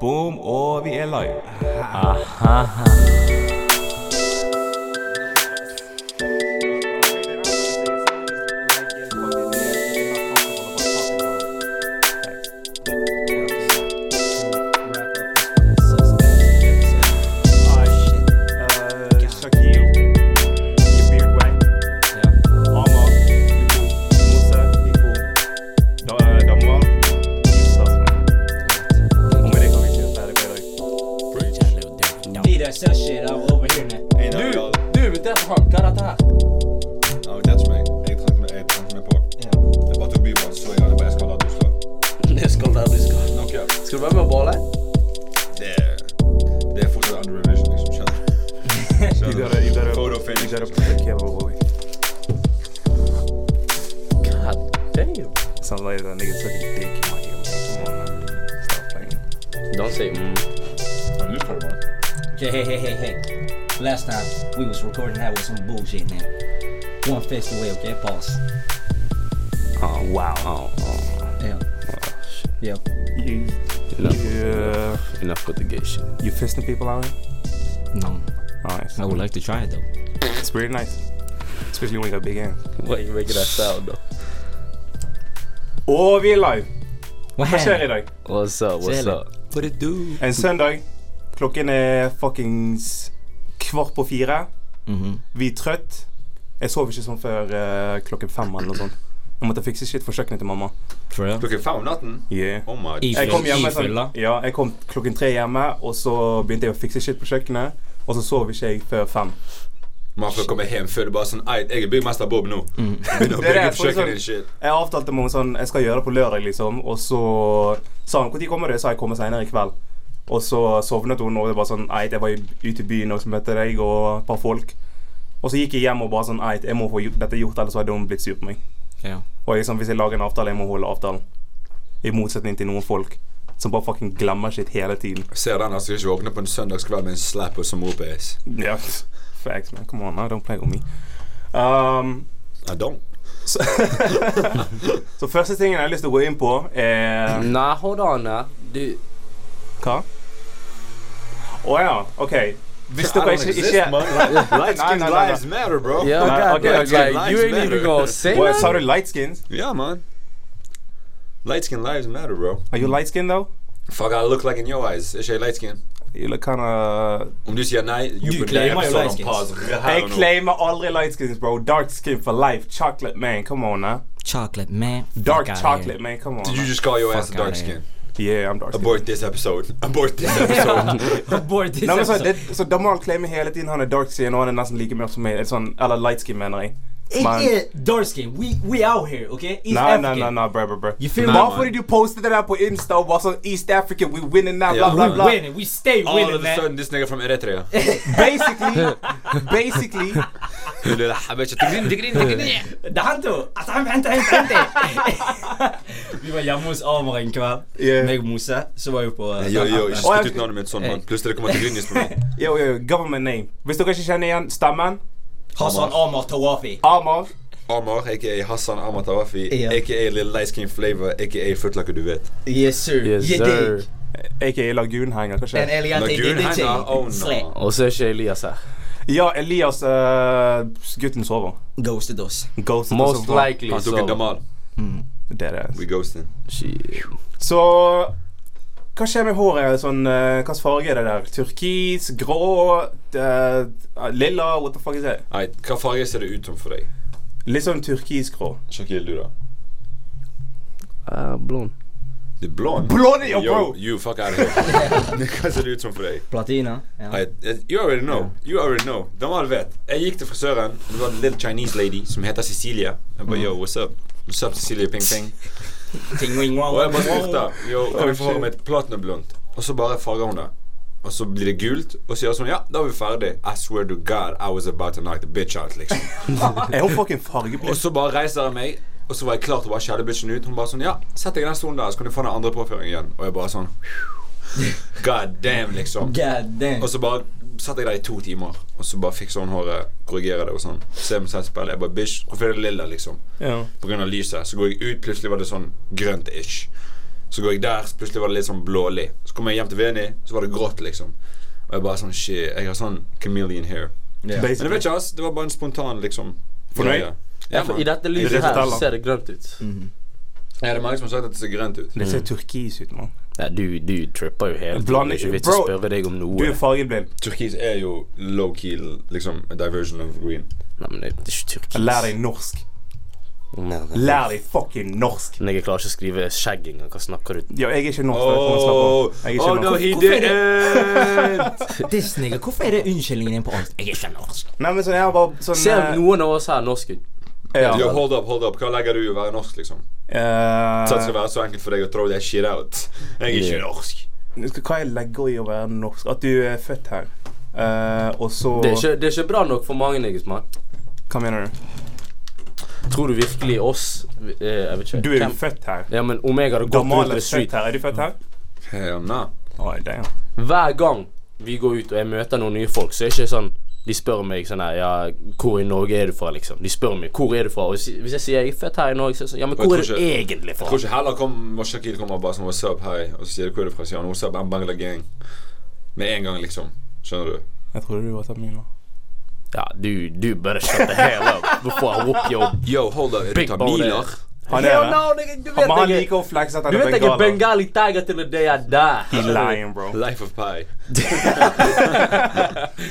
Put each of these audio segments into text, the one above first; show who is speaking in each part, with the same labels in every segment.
Speaker 1: Boom, og vi er live.
Speaker 2: Need that such shit I'm over here now. Du, du, det er hva er dette her?
Speaker 3: Ja, det er ikke meg. Jeg trengte meg, jeg trengte meg på. Jeg bare tok bybanen, så jeg hadde bare jeg skal la du slå.
Speaker 4: Det skal der du skal.
Speaker 3: Nok, ja.
Speaker 4: Skal du være med og bale?
Speaker 3: Det er, det er fortsatt under revision, liksom, skjønner du?
Speaker 1: You gotta- you gotta-
Speaker 3: Photo finish.
Speaker 1: You gotta put the camera away.
Speaker 4: God Ah, damn.
Speaker 1: Sounds like that nigga took a dick in my ear. man. Come on, man. Stop playing.
Speaker 4: Don't say mm.
Speaker 3: Ja, du prøver bare.
Speaker 2: Hey, hey, hey, hey, hey. Last time we was recording that with some bullshit now. One fist away, okay? Pause.
Speaker 4: Oh, wow. Oh, oh.
Speaker 2: Yeah. Yeah.
Speaker 1: You,
Speaker 4: Enough,
Speaker 1: you, uh,
Speaker 4: enough with the gay shit.
Speaker 1: you fisting people out here?
Speaker 2: No.
Speaker 1: Nice.
Speaker 2: I would like to try it though.
Speaker 1: It's pretty nice. Especially when you got big hands.
Speaker 4: Why you making that sound though?
Speaker 1: Og vi er live.
Speaker 2: What
Speaker 1: Hva skjer i dag?
Speaker 4: What's up? What's
Speaker 2: Say it.
Speaker 4: up?
Speaker 2: What it do?
Speaker 1: En søndag. Klokken er fuckings kvart på fire.
Speaker 2: Mhm.
Speaker 1: Vi er trøtt. Jeg sov ikke sånn før eh, klokken fem eller noe sånt. Jeg måtte fikse shit for kjøkkenet til mamma.
Speaker 2: For real?
Speaker 3: Klokken fem om natten?
Speaker 1: Yeah.
Speaker 3: Oh my
Speaker 2: I-
Speaker 1: Jeg kom hjemme
Speaker 2: Ifyll,
Speaker 1: sånn,
Speaker 2: da?
Speaker 1: ja, jeg kom klokken tre hjemme, og så begynte jeg å fikse shit på kjøkkenet. Og så sov ikke jeg før fem.
Speaker 3: Man får komme hjem før det bare sånn, ei, jeg er byggmester Bob nå. Begynner å
Speaker 1: Det er
Speaker 3: bygge
Speaker 1: det,
Speaker 3: opp
Speaker 1: for
Speaker 3: kjøkkenet
Speaker 1: sånn-
Speaker 3: ditt shit.
Speaker 1: Jeg avtalte med henne sånn Jeg skal gjøre det på lørdag, liksom. Og så sa hun når kommer du? Jeg sa jeg kommer senere i kveld. Og så sovnet hun, og det var sånn Eit, jeg var i- ute i byen og så møtte deg og et par folk. Og så gikk jeg hjem og bare sånn Eit, jeg må få gjort- dette gjort, ellers hadde hun blitt sur på meg.
Speaker 2: Ja.
Speaker 1: Og liksom, hvis jeg lager en avtale, jeg må holde avtalen. I motsetning til noen folk som bare fucking glemmer shit hele tiden.
Speaker 3: Ser den, altså, jeg skal ikke våkne på en søndagskveld med en slap og som OPS.
Speaker 1: Ja, facts, man. Come on, now, don't play with me. Um,
Speaker 3: I don't.
Speaker 1: så, så første tingen jeg har lyst til å gå inn på, er
Speaker 4: Nah, hold on now. Dude.
Speaker 1: Hva? Å ja, OK. Hvis dere
Speaker 3: I don't
Speaker 1: ikke,
Speaker 3: exist,
Speaker 1: ikke
Speaker 3: man. Light- Light
Speaker 1: Nei, nei,
Speaker 3: skin
Speaker 1: nei, nei.
Speaker 3: lives matter, bro.
Speaker 4: Yeah,
Speaker 1: Nah,
Speaker 4: God,
Speaker 1: okay,
Speaker 4: okay,
Speaker 3: okay.
Speaker 4: like, you ain't even gonna say
Speaker 1: What,
Speaker 4: nothing?
Speaker 1: Sa du light skins?
Speaker 3: Yeah, man. Light skin lives matter, bro.
Speaker 1: Are you light skin though?
Speaker 3: Fuck, I look like in your eyes. Er ikke jeg light skin?
Speaker 1: You look kinda
Speaker 3: Om dus du sier nei, you
Speaker 2: Du
Speaker 3: put the
Speaker 2: claimer jo
Speaker 3: episode
Speaker 2: light
Speaker 3: on
Speaker 2: skins.
Speaker 3: pause her
Speaker 1: Jeg
Speaker 3: og nå.
Speaker 1: claimer aldri light skins, bro. Dark skin for life. Chocolate man, come on now.
Speaker 2: Chocolate, man. Fuck
Speaker 1: Dark
Speaker 2: outta
Speaker 1: chocolate
Speaker 2: here.
Speaker 1: man, come on.
Speaker 3: Did you
Speaker 1: now.
Speaker 3: just call your ass
Speaker 2: Fuck
Speaker 3: a dark
Speaker 2: outta here.
Speaker 3: skin?
Speaker 1: Yeah, I'm dark skin.
Speaker 3: Abort this episode. Abort this episode.
Speaker 2: Abort this
Speaker 1: Nei, men så,
Speaker 2: episode.
Speaker 1: det, så Damal claimer hele tiden han er dark skin, og han er nesten like mørk som meg. Eller Sånn, eller light skin, mener jeg. Man.
Speaker 2: Ikke dark skin. We, we out here, okay? East
Speaker 1: Nei, nei,
Speaker 2: African.
Speaker 1: nei, nei, bro, bro, bro.
Speaker 2: You feel me?
Speaker 1: Bare fordi du postet det der på Insta og var sånn East African, we winning now, bla,
Speaker 3: Ja.
Speaker 1: bla,
Speaker 2: We
Speaker 1: bla.
Speaker 2: winning. We stay
Speaker 3: All of
Speaker 2: winning,
Speaker 3: a
Speaker 2: man.
Speaker 3: sudden, this nigga from Eritrea.
Speaker 1: Basically, basically
Speaker 3: لولا حبيت تقرين تقرين تقرين
Speaker 2: Det hendte jo. Altså, hent, hent, hent, hent. Vi var hjemme hos Amar en kveld.
Speaker 1: Yeah.
Speaker 2: Meg og Mose. Så var vi på eh,
Speaker 3: Jo, jo, ikke
Speaker 2: Southampton.
Speaker 3: spytt ut navnet mitt sånn, mann. Plutselig kommer det grynis på meg.
Speaker 1: Yo, yo, yo, government name. Hvis dere ikke kjenner igjen stemmen,
Speaker 2: Hassan Amar Tawafi.
Speaker 1: Amar
Speaker 3: Amar, aka Hassan Amar Tawafi,
Speaker 2: Ja.
Speaker 3: aka Little Light Skin Flavor, aka Footlocker, du vet.
Speaker 2: Yes, sir.
Speaker 4: Yes,
Speaker 2: Yeah,
Speaker 4: sir.
Speaker 2: dig.
Speaker 1: aka Lagunhenger,
Speaker 2: Den
Speaker 1: kanskje?
Speaker 2: elegante
Speaker 3: Lagoon
Speaker 2: gidde-ting.
Speaker 3: Hanger, oh no.
Speaker 2: Sle.
Speaker 4: Og så er ikke Elias ah. her.
Speaker 1: Ja, Elias eh, Gutten sover.
Speaker 2: Ghosted oss.
Speaker 1: Ghost
Speaker 4: Most likely,
Speaker 3: Han tok en
Speaker 4: so.
Speaker 3: Damal.
Speaker 1: Det er
Speaker 3: We
Speaker 1: det.
Speaker 3: ghosting.
Speaker 4: Shit.
Speaker 1: Så hva skjer med håret? Sånn, eh, Hvilken farge er det der? Turkis? Grå? eh, lilla? What the fuck is det?
Speaker 3: Nei, hva farge ser det ut som for deg?
Speaker 1: Litt sånn turkisgrå.
Speaker 3: Shakil, du da?
Speaker 4: Uh, blond.
Speaker 3: Du er blond.
Speaker 1: Blond, ja,
Speaker 3: Yo,
Speaker 1: bro!
Speaker 3: you, fuck out of here. Hva ser det ut som for deg?
Speaker 2: Platina. Ja.
Speaker 3: I, I- you already know. You already know. Damal vet. Jeg gikk til frisøren. og Det var en little Chinese lady som heter Cecilia. Jeg bare, yo, what's up? What's up, Cecilia Ping Ping?
Speaker 2: Ting, wing, wong,
Speaker 3: Og jeg bare
Speaker 2: wong.
Speaker 3: spurte, yo, kan
Speaker 1: Oh,
Speaker 3: vi få
Speaker 1: shit.
Speaker 3: håret mitt platinablondt? Og så bare farger hun det. Og så blir det gult, og så gjør hun sånn, ja, da er vi ferdig. I swear to God, I was about to knock the bitch out, liksom.
Speaker 1: Er hun fucking
Speaker 3: Og
Speaker 1: fargeblind?
Speaker 3: så bare reiser jeg meg, og så var jeg klar til å bare skjelle bitchen ut. Hun bare sånn, ja, sett deg i den stolen der, så kan du få den andre påføringen igjen. Og jeg bare sånn, god damn, liksom.
Speaker 2: God damn.
Speaker 3: Og så bare satt jeg der i to timer, og så bare fikser hun håret, korrigerer det og sånn. Ser meg selv i speilet, jeg bare bitch, hvorfor er det lilla, liksom?
Speaker 1: Ja.
Speaker 3: På grunn av lyset. Så går jeg ut, plutselig var det sånn grønt-ish. Så går jeg der, så plutselig var det litt sånn blålig. Så kom jeg hjem til Veni, så var det grått, liksom. Og jeg bare sånn Shit, jeg har sånn chameleon hair.
Speaker 2: Ja.
Speaker 1: Basic.
Speaker 3: Men jeg vet ikke, ass. Det var bare en spontan, liksom
Speaker 1: Fornøyd?
Speaker 3: greie.
Speaker 4: Ja,
Speaker 3: Ja,
Speaker 4: for I
Speaker 3: man.
Speaker 4: dette lyset
Speaker 1: det som
Speaker 4: her så
Speaker 1: teller.
Speaker 4: ser det grønt ut.
Speaker 2: Mhm.
Speaker 3: Ja, det er mange som har sagt at det ser grønt ut.
Speaker 1: Det ser turkis ut, mann.
Speaker 4: Nei, du, du tripper jo helt.
Speaker 1: Bland-
Speaker 4: det er ikke vits å
Speaker 1: bro,
Speaker 4: spørre deg om noe.
Speaker 1: Du er fargeblind.
Speaker 3: Turkis er jo low-key, liksom a diversion of green.
Speaker 4: Nei, men det det er ikke turkis.
Speaker 1: Lær deg norsk.
Speaker 4: Nei, nei.
Speaker 1: Lær deg fucking norsk.
Speaker 4: Men jeg klarer ikke å skrive skjegg engang. Hva snakker du
Speaker 1: Ja, jeg er ikke norsk. men slapp av. Jeg er ikke norsk.
Speaker 3: Oh, he
Speaker 2: Hvorfor er
Speaker 3: didn't!
Speaker 2: This nigga, hvorfor er det unnskyldningen din på alt? Jeg er ikke norsk.
Speaker 1: Nei, men sånn, jeg var sånn
Speaker 4: Ser
Speaker 1: eh,
Speaker 4: noen av oss her norsk ut?
Speaker 1: ja.
Speaker 3: Yo, hold up, hold up. Hva legger du i å være norsk, liksom?
Speaker 1: Eh,
Speaker 3: Så det skal være så enkelt for deg å throw that shit out. Jeg er ikke
Speaker 4: Yeah.
Speaker 3: norsk.
Speaker 1: Hva jeg legger i å være norsk? At du er født her. Eh, og så
Speaker 4: Det er ikke, det er ikke bra nok for mange niggas, mann.
Speaker 1: Hva mener du?
Speaker 4: Tror du virkelig oss eh, Jeg vet ikke.
Speaker 1: Du er jo
Speaker 4: Hvem-
Speaker 1: født her.
Speaker 4: Ja, men om jeg hadde gått rundt
Speaker 1: Gamal
Speaker 4: i
Speaker 1: er
Speaker 4: the street
Speaker 1: født her. Er du født her?
Speaker 3: Hell nah.
Speaker 1: Oi, damn.
Speaker 4: Hver gang vi går ut og jeg møter noen nye folk, så er det ikke sånn De spør meg sånn her Ja, hvor i Norge er du fra, liksom? De spør meg hvor er du fra. Og hvis hvis jeg sier jeg er født her i Norge, så er det sånn Ja, men
Speaker 3: Jeg
Speaker 4: hvor
Speaker 3: tror
Speaker 4: er du
Speaker 3: ikke-
Speaker 4: egentlig
Speaker 3: Jeg
Speaker 4: fra?
Speaker 3: tror ikke heller kom, Shakir kommer bare sånn What's up, hei. Og så sier du hvor er du fra? Sier han What's up, I'm Bangla gang. Med en gang, liksom. Skjønner du?
Speaker 1: Jeg trodde du var tamil.
Speaker 4: Ja, du, du bare shut the hell up before I whoop your
Speaker 3: Yo, hold up.
Speaker 4: big body.
Speaker 1: Han er
Speaker 4: Hell
Speaker 1: det.
Speaker 4: no, nigga, du
Speaker 1: Men han
Speaker 4: vet jeg er
Speaker 1: liker å flexe at
Speaker 4: Du
Speaker 1: han
Speaker 4: vet
Speaker 1: er
Speaker 4: jeg er
Speaker 1: bengaler.
Speaker 4: bengali tiger til the day I die.
Speaker 1: He lying, bro.
Speaker 3: Life of pie.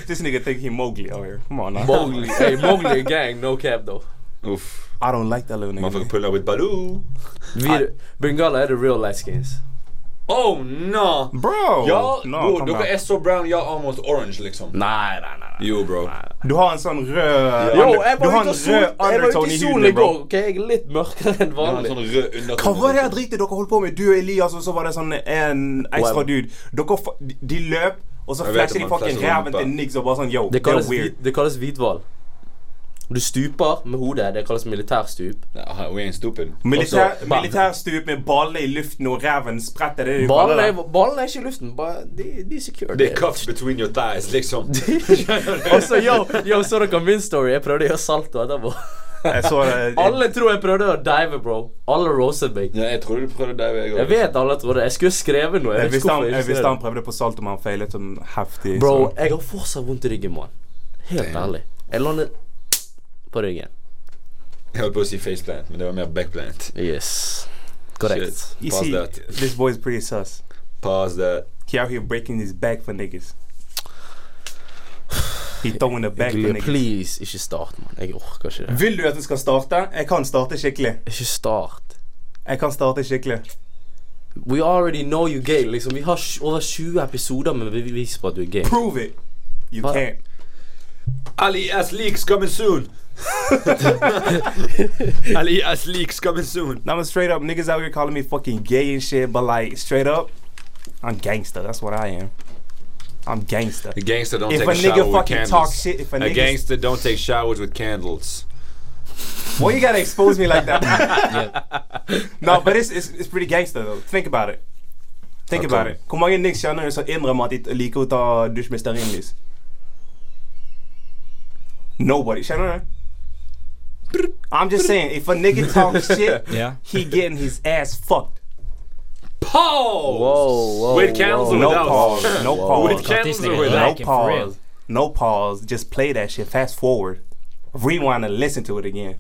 Speaker 1: This nigga think he Mowgli out here. Come on now.
Speaker 4: Mowgli, hey, Mowgli gang, no cap though.
Speaker 3: Uff.
Speaker 1: I don't like that little
Speaker 3: Motherfucker
Speaker 1: nigga.
Speaker 3: pull up with Baloo.
Speaker 4: Vi, bengaler er the real light skins.
Speaker 3: Oh, no.
Speaker 1: Bro!
Speaker 3: Ja,
Speaker 1: Nå,
Speaker 3: bro,
Speaker 1: kom
Speaker 3: dere
Speaker 1: her.
Speaker 3: er så brown, jeg er almost orange, liksom.
Speaker 4: Nei, nei, nei. nei.
Speaker 3: Jo, bro.
Speaker 1: Du har en sånn rød
Speaker 4: Yo,
Speaker 1: under-
Speaker 4: jeg
Speaker 1: Du
Speaker 4: var
Speaker 1: har
Speaker 4: ute
Speaker 1: en
Speaker 4: og sol, jeg
Speaker 1: rød
Speaker 4: var ute
Speaker 1: undertone
Speaker 4: i
Speaker 1: i
Speaker 4: solen i
Speaker 1: huden, bro.
Speaker 4: går. Ok, jeg er litt mørkere enn
Speaker 3: Jeg har en
Speaker 4: vanlig.
Speaker 3: sånn rød
Speaker 1: Hva
Speaker 3: undertone.
Speaker 1: var det her driten dere holdt på med? Du og Elias, og så var det sånn en ekstra
Speaker 4: Wow.
Speaker 1: dude. Dere fa- de- De løp, og så
Speaker 3: Jeg vet
Speaker 1: flashet
Speaker 3: om
Speaker 1: de
Speaker 3: han
Speaker 1: fucking
Speaker 3: flasher
Speaker 1: ræven
Speaker 3: rumpa.
Speaker 1: til Niggs og bare sånn yo,
Speaker 4: Det
Speaker 1: det
Speaker 4: kalles,
Speaker 1: er weird.
Speaker 4: hvit- det kalles hvithval. Du stuper med hodet. Det kalles militærstup.
Speaker 3: Nei, We ain't stupid.
Speaker 1: Militær,
Speaker 4: Også-
Speaker 1: militærstup med ballene i luften og ræven spretter. Det er det du
Speaker 4: Ballen
Speaker 1: kaller
Speaker 4: er,
Speaker 1: det.
Speaker 4: ballen er ikke i luften. Bare, de, de er secure.
Speaker 3: Det er cuffs between your thighs, liksom.
Speaker 4: Og så, yo, yo, så dere min story? Jeg prøvde å gjøre salto etterpå.
Speaker 1: Jeg så det.
Speaker 4: Alle tror jeg prøvde å dive, bro. Alle roset meg.
Speaker 3: Ja, jeg trodde du prøvde deg, jeg
Speaker 4: Jeg vet alle trodde Jeg skulle skrevet noe.
Speaker 1: Jeg
Speaker 4: Jeg vet ikke
Speaker 1: visste han,
Speaker 4: hvorfor jeg
Speaker 1: jeg
Speaker 4: ikke
Speaker 1: visste
Speaker 4: skrev
Speaker 1: han
Speaker 4: det.
Speaker 1: prøvde på salt, men han feilet sånn heftig.
Speaker 4: Bro,
Speaker 1: så.
Speaker 4: jeg har fortsatt vondt i ryggen, mann. Helt
Speaker 3: Damn.
Speaker 4: ærlig. Jeg landet på ryggen.
Speaker 3: Jeg holdt på å si faceplant, men det var mer backplant.
Speaker 4: Yes. Korrekt.
Speaker 1: You
Speaker 3: Pass
Speaker 1: see,
Speaker 3: that.
Speaker 1: this boy is pretty sus.
Speaker 3: Pause that.
Speaker 1: He out here breaking his back for niggas. He throwing the back for
Speaker 4: Glia,
Speaker 1: niggas.
Speaker 4: please, ikke start, mann. Jeg orker ikke det.
Speaker 1: Vil du at du skal starte? Jeg kan starte skikkelig.
Speaker 4: Ikke start.
Speaker 1: Jeg kan starte skikkelig.
Speaker 4: We already know you gay. Liksom, vi har sj- over 20 episoder med bevis på at du er gay.
Speaker 1: Prove it! You
Speaker 4: Hva?
Speaker 1: can't.
Speaker 3: Ali S leaks coming soon! Ali S leaks coming soon!
Speaker 1: Now, straight up, niggas out here calling me fucking gay and shit, but like, straight up, I'm gangster. That's what I am. I'm gangster.
Speaker 3: A gangster don't
Speaker 1: If
Speaker 3: take
Speaker 1: a
Speaker 3: a,
Speaker 1: nigga
Speaker 3: shower with
Speaker 1: fucking
Speaker 3: candles.
Speaker 1: talk shit, if a nigga-
Speaker 3: gangster don't take showers with candles.
Speaker 1: Why you gotta expose me like that? No, but it's, it's, it's pretty gangster though. Think about it. Think
Speaker 3: Okay.
Speaker 1: about it. Hvor mange niggas kjenner du som innrømmer at de liker å ta dusj med stearinlys? Nobody. Kjenner du? I'm just saying, if a nigga talk shit,
Speaker 2: Ja.
Speaker 1: he getting his ass fucked.
Speaker 3: Pause!
Speaker 4: Whoa, whoa,
Speaker 3: With candles
Speaker 4: whoa.
Speaker 3: or
Speaker 1: No
Speaker 3: without?
Speaker 1: pause. No
Speaker 3: With
Speaker 1: pause.
Speaker 3: candles
Speaker 2: This
Speaker 3: or
Speaker 2: nigga
Speaker 3: without?
Speaker 1: No
Speaker 2: Like it for real.
Speaker 1: pause. No pause. Just play that shit. Fast forward. Rewind and listen to it again.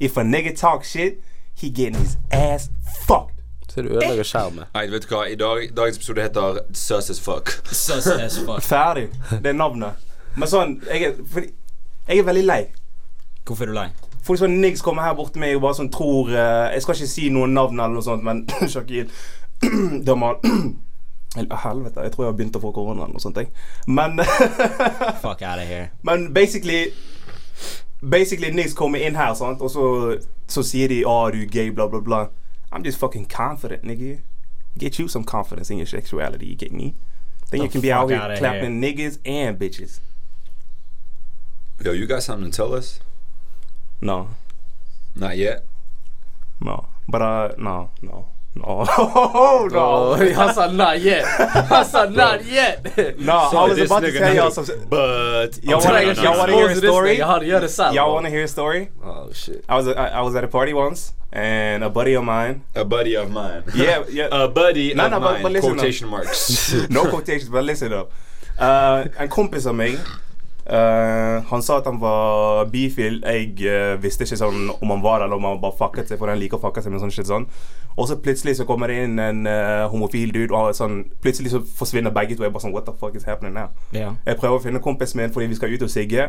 Speaker 1: If a nigga talk shit, he getting his ass fucked.
Speaker 4: Så du ødelegger skjermen.
Speaker 3: Nei, vet du hva? I dag, dagens episode heter Sus as fuck.
Speaker 2: Sus as fuck.
Speaker 1: Ferdig. Det er navnet. Men sånn Jeg er, fordi, jeg er veldig lei.
Speaker 2: Hvorfor er du lei?
Speaker 1: Folk sånn niggs kommer her bort til meg og bare sånn tror eh, Jeg skal ikke si noen navn eller noe sånt, men Shakir Da man Helvete, jeg tror jeg har begynt å få korona eller noe sånt. Jeg. Men,
Speaker 2: Fuck out of here.
Speaker 1: men basically Basically niggs kommer inn her, sant? og så, så sier de 'Å, du er gay', bla, bla, bla. I'm just fucking confident, nigga. Get you some confidence in your sexuality, you get me? Then you
Speaker 2: The
Speaker 1: can be out
Speaker 2: fuck
Speaker 1: here
Speaker 2: outta
Speaker 1: clapping niggas and bitches.
Speaker 3: Yo, you got something to tell us?
Speaker 1: No.
Speaker 3: Not yet.
Speaker 1: No. But uh no, no, No, no.
Speaker 4: Oh, han sa not yet. Han sa not yet.
Speaker 1: No, I was about to tell y'all some.
Speaker 3: But
Speaker 1: Y'all wanna-
Speaker 4: Trying to
Speaker 1: y'all wanna hear a
Speaker 4: expose this
Speaker 1: story?
Speaker 4: nigga on the other side.
Speaker 1: Y'all
Speaker 4: bro.
Speaker 1: want to hear a story?
Speaker 4: Oh shit.
Speaker 1: I was I, I was at a party once, and a buddy of mine.
Speaker 3: A buddy of mine.
Speaker 1: Yeah, yeah.
Speaker 3: A buddy
Speaker 1: No,
Speaker 3: of
Speaker 1: no, but-
Speaker 3: mine.
Speaker 1: but listen up.
Speaker 3: Quotation marks.
Speaker 1: No quotations, but listen up. Eh, en kompis av meg eh, Han sa at han var bifil. Jeg eh, visste ikke sånn om han var det, eller om han bare fucket seg, for han liker å fucke seg med sånn shit sånn. Og så plutselig så kommer det inn en eh, homofil dude, og han er sånn, plutselig så forsvinner begge to. Jeg bare sånn What the fuck is happening now?
Speaker 5: Ja.
Speaker 1: Jeg prøver å finne kompisen min fordi vi skal ut og sigge.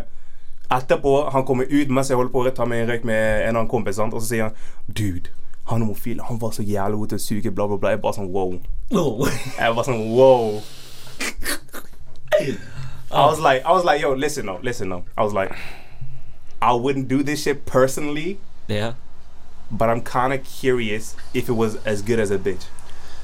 Speaker 1: Etterpå, han kommer ut mens jeg holder på å ta meg en røyk med en annen kompis, sant? og så sier han Dude, han homofile, han var så jævlig god til å suge, bla, bla, bla. Jeg bare sånn wow.
Speaker 2: Oh.
Speaker 1: Jeg bare sånn wow. I was like, I was like, yo, listen now, listen now. I was like, I wouldn't do this shit personally,
Speaker 5: Ja.
Speaker 1: but I'm kind of curious if it was as good as a bitch.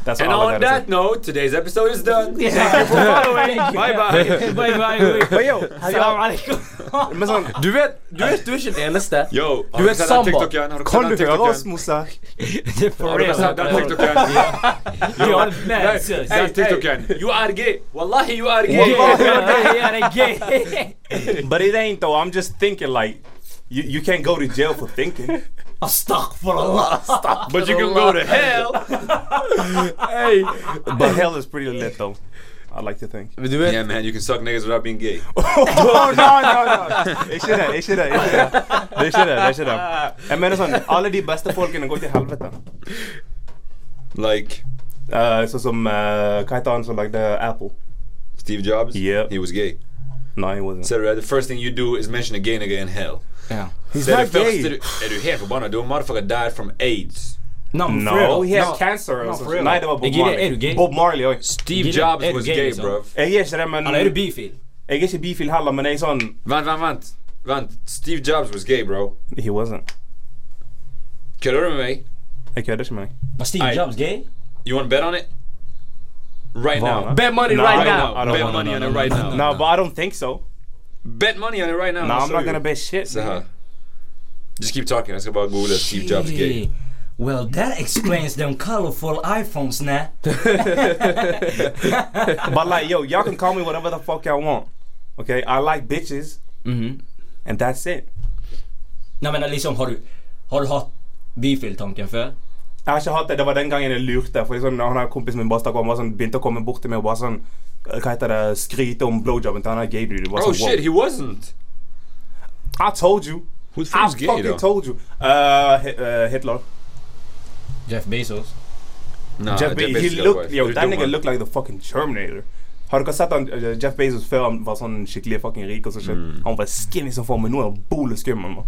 Speaker 1: That's what
Speaker 3: And
Speaker 1: I was
Speaker 3: on
Speaker 1: gonna
Speaker 3: that
Speaker 1: say.
Speaker 3: note, today's episode is done. Thank you for following. Bye bye.
Speaker 5: Bye, bye.
Speaker 1: But yo,
Speaker 5: Salam alaikum.
Speaker 1: men sånn,
Speaker 4: Du vet, du vet, du er ikke den eneste.
Speaker 3: Yo, oh, har
Speaker 4: Du
Speaker 3: du
Speaker 4: er
Speaker 3: sett den
Speaker 4: samba.
Speaker 3: TikToken? Har
Speaker 1: kan du
Speaker 3: sett den
Speaker 1: høre oss,
Speaker 3: TikToken?
Speaker 1: Moussa?
Speaker 5: Det er for
Speaker 3: Har du
Speaker 5: real.
Speaker 3: sett den TikToken?
Speaker 5: You are mad,
Speaker 3: Hey,
Speaker 5: sis.
Speaker 3: hey, TikToken. You are gay. Wallahi, you are gay.
Speaker 5: Yeah, yeah, yeah, yeah.
Speaker 1: But it ain't though. I'm just thinking like you, you can't go to jail for thinking.
Speaker 5: Astaghfirullah.
Speaker 3: But you can go to hell.
Speaker 4: Hey.
Speaker 1: but hell is pretty lit though. I like to think.
Speaker 4: Men du vet,
Speaker 3: Yeah, man, you can suck niggas without being gay.
Speaker 1: oh no no no! They should have. They should have. They should have. They should have. They should have. Jeg mener sånn, alle de beste folkene går til helvete.
Speaker 3: Like
Speaker 1: Eh, sånn som eh, Hva heter han som lagde Apple?
Speaker 3: Steve Jobs.
Speaker 1: Yeah.
Speaker 3: He was gay.
Speaker 1: Nei, no,
Speaker 3: Said right, the first thing you do is mention a gay nigga in hell.
Speaker 5: Yeah.
Speaker 1: he's
Speaker 3: Said
Speaker 1: not
Speaker 3: the first
Speaker 1: gay.
Speaker 3: thing- Er du helt forbanna? Du, motherfucker died from AIDS.
Speaker 5: No,
Speaker 1: No,
Speaker 5: for real.
Speaker 2: oh,
Speaker 1: he has
Speaker 5: No.
Speaker 1: cancer. eller
Speaker 5: No,
Speaker 1: sånt.
Speaker 5: for real.
Speaker 1: Nei, det var Bob
Speaker 5: Jeg gir deg- er du
Speaker 1: Marley.
Speaker 5: gay?
Speaker 1: Bob Marley òg.
Speaker 3: Steve
Speaker 5: Gillig-
Speaker 3: Jobs
Speaker 5: er du
Speaker 3: was
Speaker 5: gay,
Speaker 3: gay,
Speaker 5: liksom?
Speaker 3: bruv.
Speaker 1: Jeg er ikke det, men
Speaker 5: Eller er du bifil?
Speaker 1: Jeg er ikke bifil heller, men jeg er sånn
Speaker 3: Vent, vent, vent. Vent. Steve Jobs was gay, bro.
Speaker 1: He wasn't.
Speaker 3: Kødder du med meg?
Speaker 1: Jeg kødder ikke med deg.
Speaker 2: Was Steve
Speaker 3: Aye.
Speaker 2: Jobs gay?
Speaker 3: You want to bet on it? Right
Speaker 1: Hva?
Speaker 3: now.
Speaker 4: bet money
Speaker 1: No,
Speaker 4: right
Speaker 1: I
Speaker 4: now.
Speaker 1: don't- I don't
Speaker 3: bet
Speaker 1: wanna
Speaker 3: money
Speaker 1: know,
Speaker 3: on
Speaker 1: no,
Speaker 3: it right now.
Speaker 1: No, but I don't think so.
Speaker 3: Bet money on it right now.
Speaker 1: No,
Speaker 3: I'll
Speaker 1: I'm
Speaker 3: show
Speaker 1: not
Speaker 3: you.
Speaker 1: gonna bet shit.
Speaker 3: Se her.
Speaker 1: nigga.
Speaker 3: Just keep talking. Jeg skal bare google Steve Jobs gay.
Speaker 2: Shit. Well, that explains them colorful iPhones, nah.
Speaker 1: But like, yo, y'all can call me whatever the fuck y'all want. Okay, I like bitches,
Speaker 2: Mm-hmm.
Speaker 5: Mhm.
Speaker 1: and that's it.
Speaker 2: Nei, men liksom, har du, har du hatt bifil-tanken før?
Speaker 1: Jeg har ikke hatt det, det var den gangen jeg lurte. For sånn, han her kompisen min bare stakk om, bare sånn, begynte å komme bort til meg og bare sånn Hva heter det? Skryte om blowjobben til han her gay dude. Bare
Speaker 3: Oh
Speaker 1: sånn,
Speaker 3: shit, he
Speaker 1: wow.
Speaker 3: wasn't.
Speaker 1: I told you.
Speaker 3: Who the
Speaker 1: I
Speaker 3: fuck's gay
Speaker 1: fucking
Speaker 3: though?
Speaker 1: told you. Uh, Hi- uh, Hitler.
Speaker 2: Jeff Bezos?
Speaker 3: Nah,
Speaker 1: Jeff Bezos. He
Speaker 3: got
Speaker 1: looked,
Speaker 3: wife.
Speaker 1: yo,
Speaker 3: Du
Speaker 1: that
Speaker 3: dum,
Speaker 1: nigga
Speaker 3: man.
Speaker 1: looked like the fucking Terminator. Har dere sett han, uh, Jeff Bezos før han var sånn skikkelig fucking rik og sånn shit?
Speaker 2: Mm.
Speaker 1: Han var skinny som faen, men nå er han boleskummel. mann.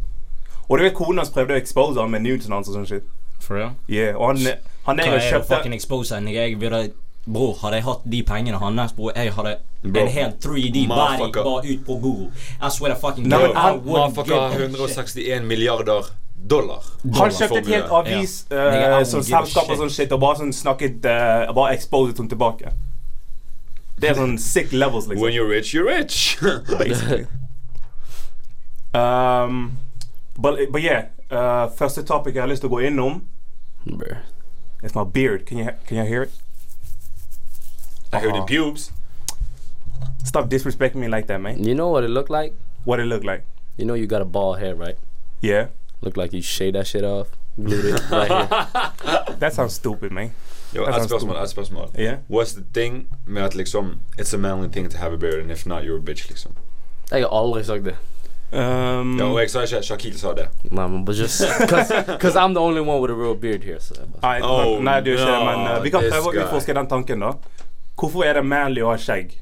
Speaker 1: Og du vet konen hans prøvde å expose ham med nudesen hans og sånn shit.
Speaker 2: For real?
Speaker 1: Yeah, og han, han er
Speaker 2: Hva
Speaker 1: jo
Speaker 2: er det
Speaker 1: kjøpte
Speaker 2: fucking exposer, nigga? Jeg ville Bror, hadde jeg hatt de pengene hans, bror, jeg hadde
Speaker 3: Bro.
Speaker 2: en hel 3D body
Speaker 3: Motherfucker.
Speaker 2: bare ut på bordet. I swear to fucking
Speaker 1: Nei,
Speaker 2: God,
Speaker 1: men han-
Speaker 2: I wouldn't
Speaker 3: Motherfucker
Speaker 2: give a
Speaker 3: har
Speaker 2: shit.
Speaker 3: 161 milliarder dollar.
Speaker 1: Han kjøpte et
Speaker 3: Formue.
Speaker 1: helt avis
Speaker 2: Ja. Nigga, I
Speaker 1: eh,
Speaker 2: won't
Speaker 1: som
Speaker 2: give a
Speaker 1: selskap og
Speaker 2: shit.
Speaker 1: sånn shit, og bare sånn snakket eh, Bare exposet henne tilbake. Det er sånn sick levels,
Speaker 3: When
Speaker 1: liksom.
Speaker 3: you're rich, you're rich.
Speaker 1: Basically. Um, but, but yeah, eh, første topic jeg har lyst til å gå innom,
Speaker 4: Brr.
Speaker 1: um, is my beard. Can you, can you hear it?
Speaker 3: I heard the pubes.
Speaker 1: Stop disrespecting me like that, man.
Speaker 4: You know what it looked like?
Speaker 1: What it look like?
Speaker 4: You know you got a bald head, right?
Speaker 1: Yeah?
Speaker 4: Look like you shaved that shit off, glued it right here.
Speaker 1: That sounds stupid, man.
Speaker 3: Yo,
Speaker 1: That
Speaker 3: et
Speaker 1: sounds
Speaker 3: spørsmål,
Speaker 1: cool.
Speaker 3: et spørsmål.
Speaker 1: Yeah?
Speaker 3: What's the thing med at liksom It's a manly thing to have a beard, and if not, you're a bitch, liksom.
Speaker 4: Jeg har aldri sagt det.
Speaker 1: Um,
Speaker 3: Ja, og jeg sa ikke Shakil sa det.
Speaker 4: Nei, men but just cause, cause I'm the only one with a real beard here. Så jeg bare,
Speaker 1: Nei,
Speaker 3: Oh,
Speaker 1: nei, du er ikke det, men eh, vi kan
Speaker 3: this
Speaker 1: prøve å
Speaker 3: guy.
Speaker 1: utforske den tanken, da. Hvorfor er det manly å ha skjegg?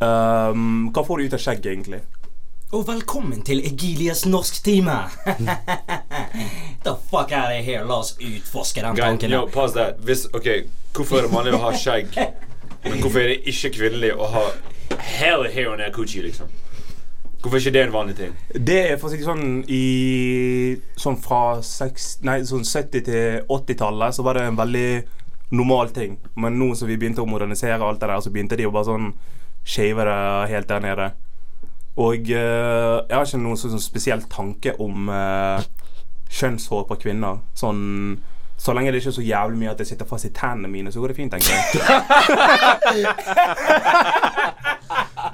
Speaker 1: Um, hva får du ut av skjegg, egentlig?
Speaker 2: Og velkommen til Egilias norsktime! The fuck out of here, la oss utforske den
Speaker 3: Guy,
Speaker 2: tanken.
Speaker 3: yo, pause that. Hvis, ok, hvorfor er det mannlig å ha skjegg, men hvorfor er det ikke kvinnelig å ha hell hair on that coochie, liksom? Hvorfor er ikke det en vanlig ting?
Speaker 1: Det er for å si det sånn i Sånn fra seks- nei, sånn 70- til 80-tallet så var det en veldig normal ting. Men nå som vi begynte å modernisere alt det der, så begynte de å bare sånn shave det helt der nede. Og eh, jeg har ikke noen sånn, sånn spesiell tanke om eh, kjønnshår på kvinner. Sånn Så lenge det ikke er så jævlig mye at det sitter fast i tennene mine, så går det fint, tenker jeg.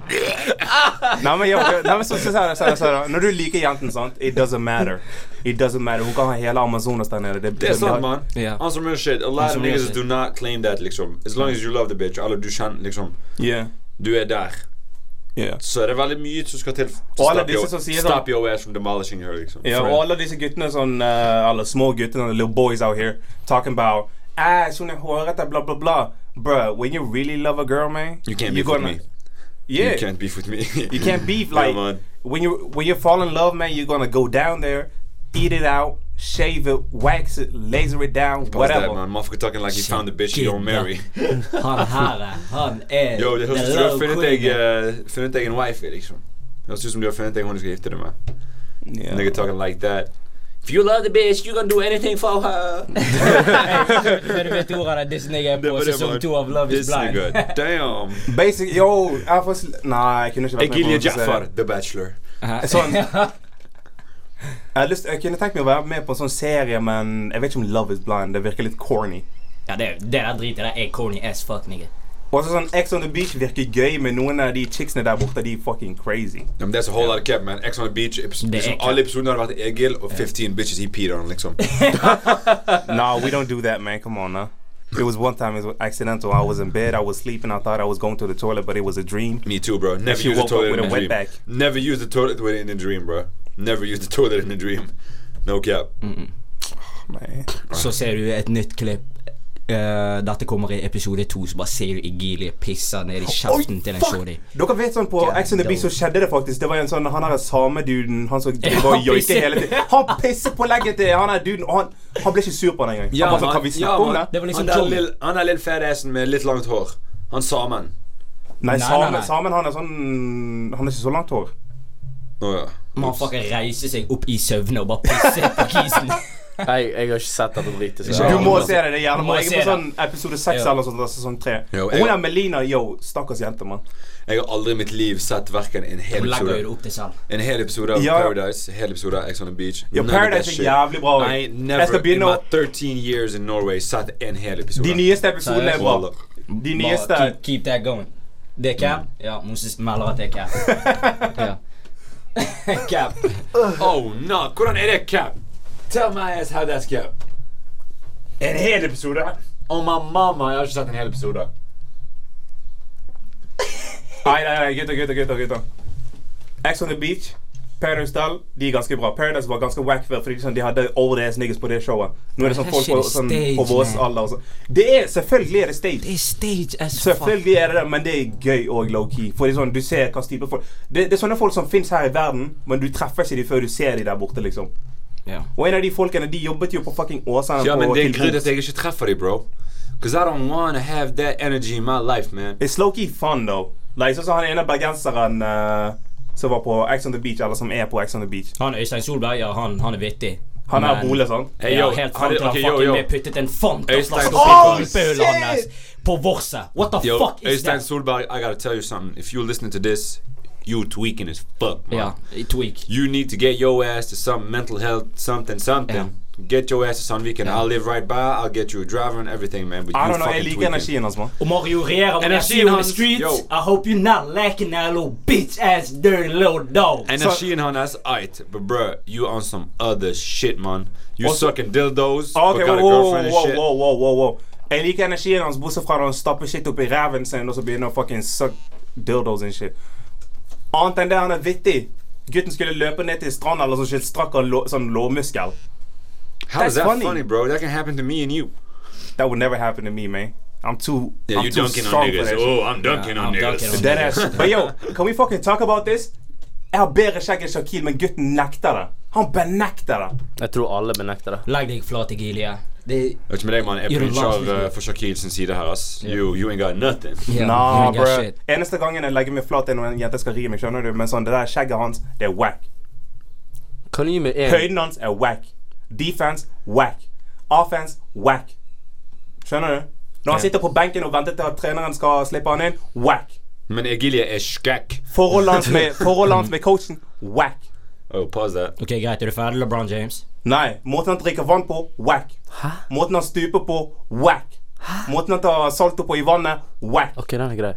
Speaker 1: nei, men, jeg, nei, men så, så, så, så, så, så, Når du liker jenten, sant It doesn't matter. It doesn't matter. Hun kan ha hele Amazonas der nede.
Speaker 3: Det er sant, man.
Speaker 4: Ja.
Speaker 3: On some real shit. A lot of
Speaker 4: some real
Speaker 3: niggas
Speaker 4: shit.
Speaker 3: do not claim that, liksom. As long as you love the bitch, eller du kjenner liksom
Speaker 1: Yeah.
Speaker 3: Du er der.
Speaker 1: Yeah.
Speaker 3: Så er det veldig mye som skal til.
Speaker 1: Og alle
Speaker 3: Stop
Speaker 1: disse
Speaker 3: your-
Speaker 1: som sier sånn-
Speaker 3: Stop your ass from demolishing her, liksom.
Speaker 1: Yeah,
Speaker 3: For
Speaker 1: all of these guttene sånn uh, Alle små guttene, the little boys out here Talking about Ass, hun er hårete, bla bla bla Bruh, when you really love a girl, man
Speaker 3: You can't
Speaker 1: you're
Speaker 3: beef with
Speaker 1: gonna-
Speaker 3: me.
Speaker 1: Yeah,
Speaker 3: You can't beef with me.
Speaker 1: you can't beef Like,
Speaker 3: man.
Speaker 1: when, you, when you fall in love, man You're gonna go down there Eat it out Shave it, wax it, laser it down
Speaker 3: Pause that,
Speaker 1: Whatever
Speaker 3: man. Motherfucker talking like he found the bitch he
Speaker 2: Shit,
Speaker 3: don't
Speaker 2: da.
Speaker 3: marry.
Speaker 2: Han her, eh, han er
Speaker 3: Yo, det høres
Speaker 2: the
Speaker 3: ut som du har
Speaker 2: love
Speaker 3: funnet
Speaker 2: queen.
Speaker 3: deg eh, Funnet deg en wife, liksom. Det høres ut som du har funnet deg hun du skal gifte deg med.
Speaker 1: Yeah.
Speaker 3: Nigga talking like that.
Speaker 4: If you love the bitch, you gonna do anything for her.
Speaker 5: Men du vet ordet der Disney er
Speaker 3: Det
Speaker 5: på
Speaker 3: var det,
Speaker 5: sesong
Speaker 3: man.
Speaker 5: to av Love is
Speaker 3: This
Speaker 5: Blind.
Speaker 3: nigga, damn.
Speaker 1: Basic, yo jeg får sl- Nei, jeg kunne ikke vært med på
Speaker 3: Egilia
Speaker 1: noe som
Speaker 3: Jafar,
Speaker 1: ser-
Speaker 3: The Bachelor.
Speaker 1: Sånn jeg, har lyst, jeg kunne tenkt meg å være med på en sånn serie Men jeg vet ikke om Love is Blind Det virker litt corny
Speaker 2: Ja, det, det der dritet der er corny as fuck, nigga.
Speaker 1: Og så sånn Ex on the Beach virker gøy, men noen av de chicksene der borte, de er fucking crazy.
Speaker 3: Ja, men det er så whole lot of cap, man. Ex on the beach. epis-
Speaker 2: Det er
Speaker 3: Liksom,
Speaker 2: cap.
Speaker 3: alle episodene har vært Egil og 15 bitches he peed on, liksom.
Speaker 1: No, we don't do that, man. Come on, now. It was one time it was accidental. I was in bed, I was sleeping, I thought I was going to the toilet, but it was a dream.
Speaker 3: Me too, bro. Never
Speaker 1: she
Speaker 3: use the
Speaker 1: woke up
Speaker 3: toilet
Speaker 1: with
Speaker 3: in
Speaker 1: a
Speaker 3: a dream.
Speaker 1: wetback.
Speaker 3: Never use the toilet with- in a dream, bro. Never use the toilet in a dream. No cap.
Speaker 1: Man.
Speaker 2: Så ser du et nytt klipp. Eh, dette kommer i episode to, så bare ser du Egilie pisse ned i kjeften til en shorty.
Speaker 1: Dere vet sånn På
Speaker 2: God
Speaker 1: Ex on the Beach så skjedde det faktisk. Det var en sånn, Han derre sameduden han som driver og
Speaker 2: Ja, han
Speaker 1: joiker
Speaker 2: pisser.
Speaker 1: hele tiden. Han pisser på legget til han der duden, og han, han ble ikke sur på det engang. Han bare sånn, kan vi snakke om det?
Speaker 2: Det var liksom
Speaker 3: han der
Speaker 2: John.
Speaker 3: lille- han der lille fatassen med litt langt hår. Han samen.
Speaker 1: Nei,
Speaker 2: Nei, nei, nei.
Speaker 1: samen, samen han er sånn Han er ikke så langt hår.
Speaker 3: Å ja.
Speaker 2: Motherfucker reiser seg opp i søvne og bare pisser på kisen.
Speaker 4: Jeg, jeg har ikke sett dette dritet. så-
Speaker 1: Du må se det. det er gjerne
Speaker 2: Du må
Speaker 1: bare, Jeg
Speaker 2: se
Speaker 1: er
Speaker 2: det.
Speaker 1: på sånn episode seks
Speaker 2: Ja.
Speaker 1: eller noe sånt. altså Sesong tre.
Speaker 3: Jo,
Speaker 1: Og
Speaker 3: jeg-
Speaker 1: hun er Melina. Yo, stakkars jente, mann.
Speaker 3: Jeg har aldri i mitt liv sett hverken en hel
Speaker 2: Hun legger jo det
Speaker 3: episode
Speaker 2: opp til selv.
Speaker 3: En hel episode av
Speaker 1: Ja.
Speaker 3: Paradise, en hel episode av Ex on the Beach.
Speaker 1: Ja,
Speaker 3: None of that
Speaker 1: Paradise er
Speaker 3: shit.
Speaker 1: jævlig bra.
Speaker 3: I
Speaker 1: Jeg skal
Speaker 3: never, in
Speaker 1: begynne
Speaker 3: my
Speaker 1: å
Speaker 3: 13 years in Norway, sett en hel episode.
Speaker 1: De nyeste episodene er bra.
Speaker 3: Wallah.
Speaker 1: De
Speaker 2: Bare
Speaker 1: nyeste
Speaker 2: keep, keep that going. Det er cap? Ja, Moses melder at det er cap. Ja. cap.
Speaker 3: Oh, no. Hvordan er det cap? Tell my ass how that's cap. En hel episode? Oh my mama, jeg har ikke sett en hel episode.
Speaker 1: Nei, nei, nei, gutter, gutter, gutter. gutter. Ex on the Beach, Paradise Dal, de er ganske bra. Paradise var ganske wack før, fordi sånn, de hadde old ass niggas på det showet. Nå er det sånn folk på, sånn, på vår alder og sånn. Det er selvfølgelig er det stage.
Speaker 2: Det er stage as fuck.
Speaker 1: Selvfølgelig er det det, men det er gøy og low-key. Fordi sånn, du ser hva slags type folk det, det er sånne folk som fins her i verden, men du treffer ikke dem før du ser dem der borte, liksom.
Speaker 2: Ja.
Speaker 1: Og en av de folkene, de jobbet jo på fucking Åsane.
Speaker 3: Ja,
Speaker 1: på
Speaker 3: men
Speaker 2: oh,
Speaker 3: det er
Speaker 1: Tilbud.
Speaker 3: grunnen til at jeg ikke treffer dem, bro. Because I don't wanna have that energy in my life, man.
Speaker 1: It's low-key fun, though. Like, sånn som han ene bergenseren eh, som var på Ex on the Beach, eller som er på Ex on the Beach.
Speaker 2: Han Øystein Solberg, ja, han, han er vittig.
Speaker 1: Han er
Speaker 2: Men-
Speaker 1: Bole, sånn.
Speaker 3: Hey,
Speaker 2: ja,
Speaker 3: yo,
Speaker 2: helt
Speaker 3: han
Speaker 2: fram
Speaker 3: er-
Speaker 2: til han
Speaker 3: ok, yo,
Speaker 2: fucking
Speaker 3: yo.
Speaker 2: ble puttet en font og
Speaker 3: Øystein-
Speaker 2: flaske
Speaker 1: Oh,
Speaker 2: opp i rumpehullet
Speaker 1: shit!
Speaker 2: hans på vorset. What the
Speaker 3: Yo,
Speaker 2: fuck is
Speaker 3: Øystein
Speaker 2: that?
Speaker 3: Solberg, I gotta tell you something. If you're listening to this, you tweaking as fuck, man.
Speaker 2: Ja, i tweak.
Speaker 3: You need to get your ass to some mental health, something, something. Get your ass to Sandviken. I'll live right by. I'll get you a driver and everything, man. But
Speaker 1: I
Speaker 3: you
Speaker 1: don't know,
Speaker 3: fucking
Speaker 1: jeg liker
Speaker 3: tweaking.
Speaker 1: energien hans, mann.
Speaker 2: Og Mario Riera, when I
Speaker 3: Energien
Speaker 2: see you in the
Speaker 3: hans-
Speaker 2: streets,
Speaker 3: yo.
Speaker 2: I hope you're not lacking that little bitch ass dirty little dog.
Speaker 3: Energien hans, aight. But bruh, you on some other shit, man. You
Speaker 1: Also-
Speaker 3: sucking
Speaker 1: Ok,
Speaker 3: dildos, but
Speaker 1: wow,
Speaker 3: got a
Speaker 1: wow,
Speaker 3: girlfriend
Speaker 1: wow,
Speaker 3: and shit.
Speaker 1: wow, wow, wow, wow. Jeg liker energien hans, bortsett fra når han stapper shit opp i ræven sin, og så begynner å fucking suck dildos and shit. Annet enn det, han er vittig. Gutten skulle løpe ned til stranda, eller sånn shit, strakk han lå, sånn lårmuskel.
Speaker 3: How is
Speaker 1: That's
Speaker 3: that funny.
Speaker 1: funny.
Speaker 3: bro? That can happen to me and you.
Speaker 1: That would never happen to me, man. I'm too,
Speaker 3: Yeah,
Speaker 1: I'm
Speaker 3: you
Speaker 1: too
Speaker 3: dunking on
Speaker 1: strong for
Speaker 3: niggas.
Speaker 1: that shit.
Speaker 3: Oh, I'm dunking on
Speaker 2: I'm
Speaker 3: niggas.
Speaker 2: dunking on
Speaker 1: Dead ass. But yo, can we fucking talk about this? Jeg har bedre skjegg enn Shakil, men gutten nekter det. Han benekter det.
Speaker 4: Jeg tror alle benekter det.
Speaker 2: Legg deg flat, Egilie. Det
Speaker 3: Vet ikke med deg, mann. Jeg
Speaker 2: You're the
Speaker 3: preacher
Speaker 2: last
Speaker 3: uh, for Shakil sin side her, ass. You, you ain't got nothing.
Speaker 2: Ja,
Speaker 1: Nah,
Speaker 2: you ain't got
Speaker 1: bro.
Speaker 2: Oh shit.
Speaker 1: Eneste gangen jeg legger meg flat, er når en jente skal ri meg. skjønner du? Men sånn, det der skjegget hans, det er wack.
Speaker 4: Kan du gi meg en
Speaker 1: Høyden hans er wack. Defense wack. Offense wack. Skjønner du? Når han sitter på benken og venter til at treneren skal slippe han inn, wack.
Speaker 3: Men Egilie er skækk.
Speaker 1: Forholdet hans med, forholdet hans med coachen, wack.
Speaker 3: Oh, pause that.
Speaker 2: Ok, greit. Er du ferdig, LeBron James?
Speaker 1: Nei. Måten han drikker vann på whack.
Speaker 4: Hæ?
Speaker 1: Måten han stuper på whack. Måten han tar salto på i vannet whack.
Speaker 4: OK, den er grei.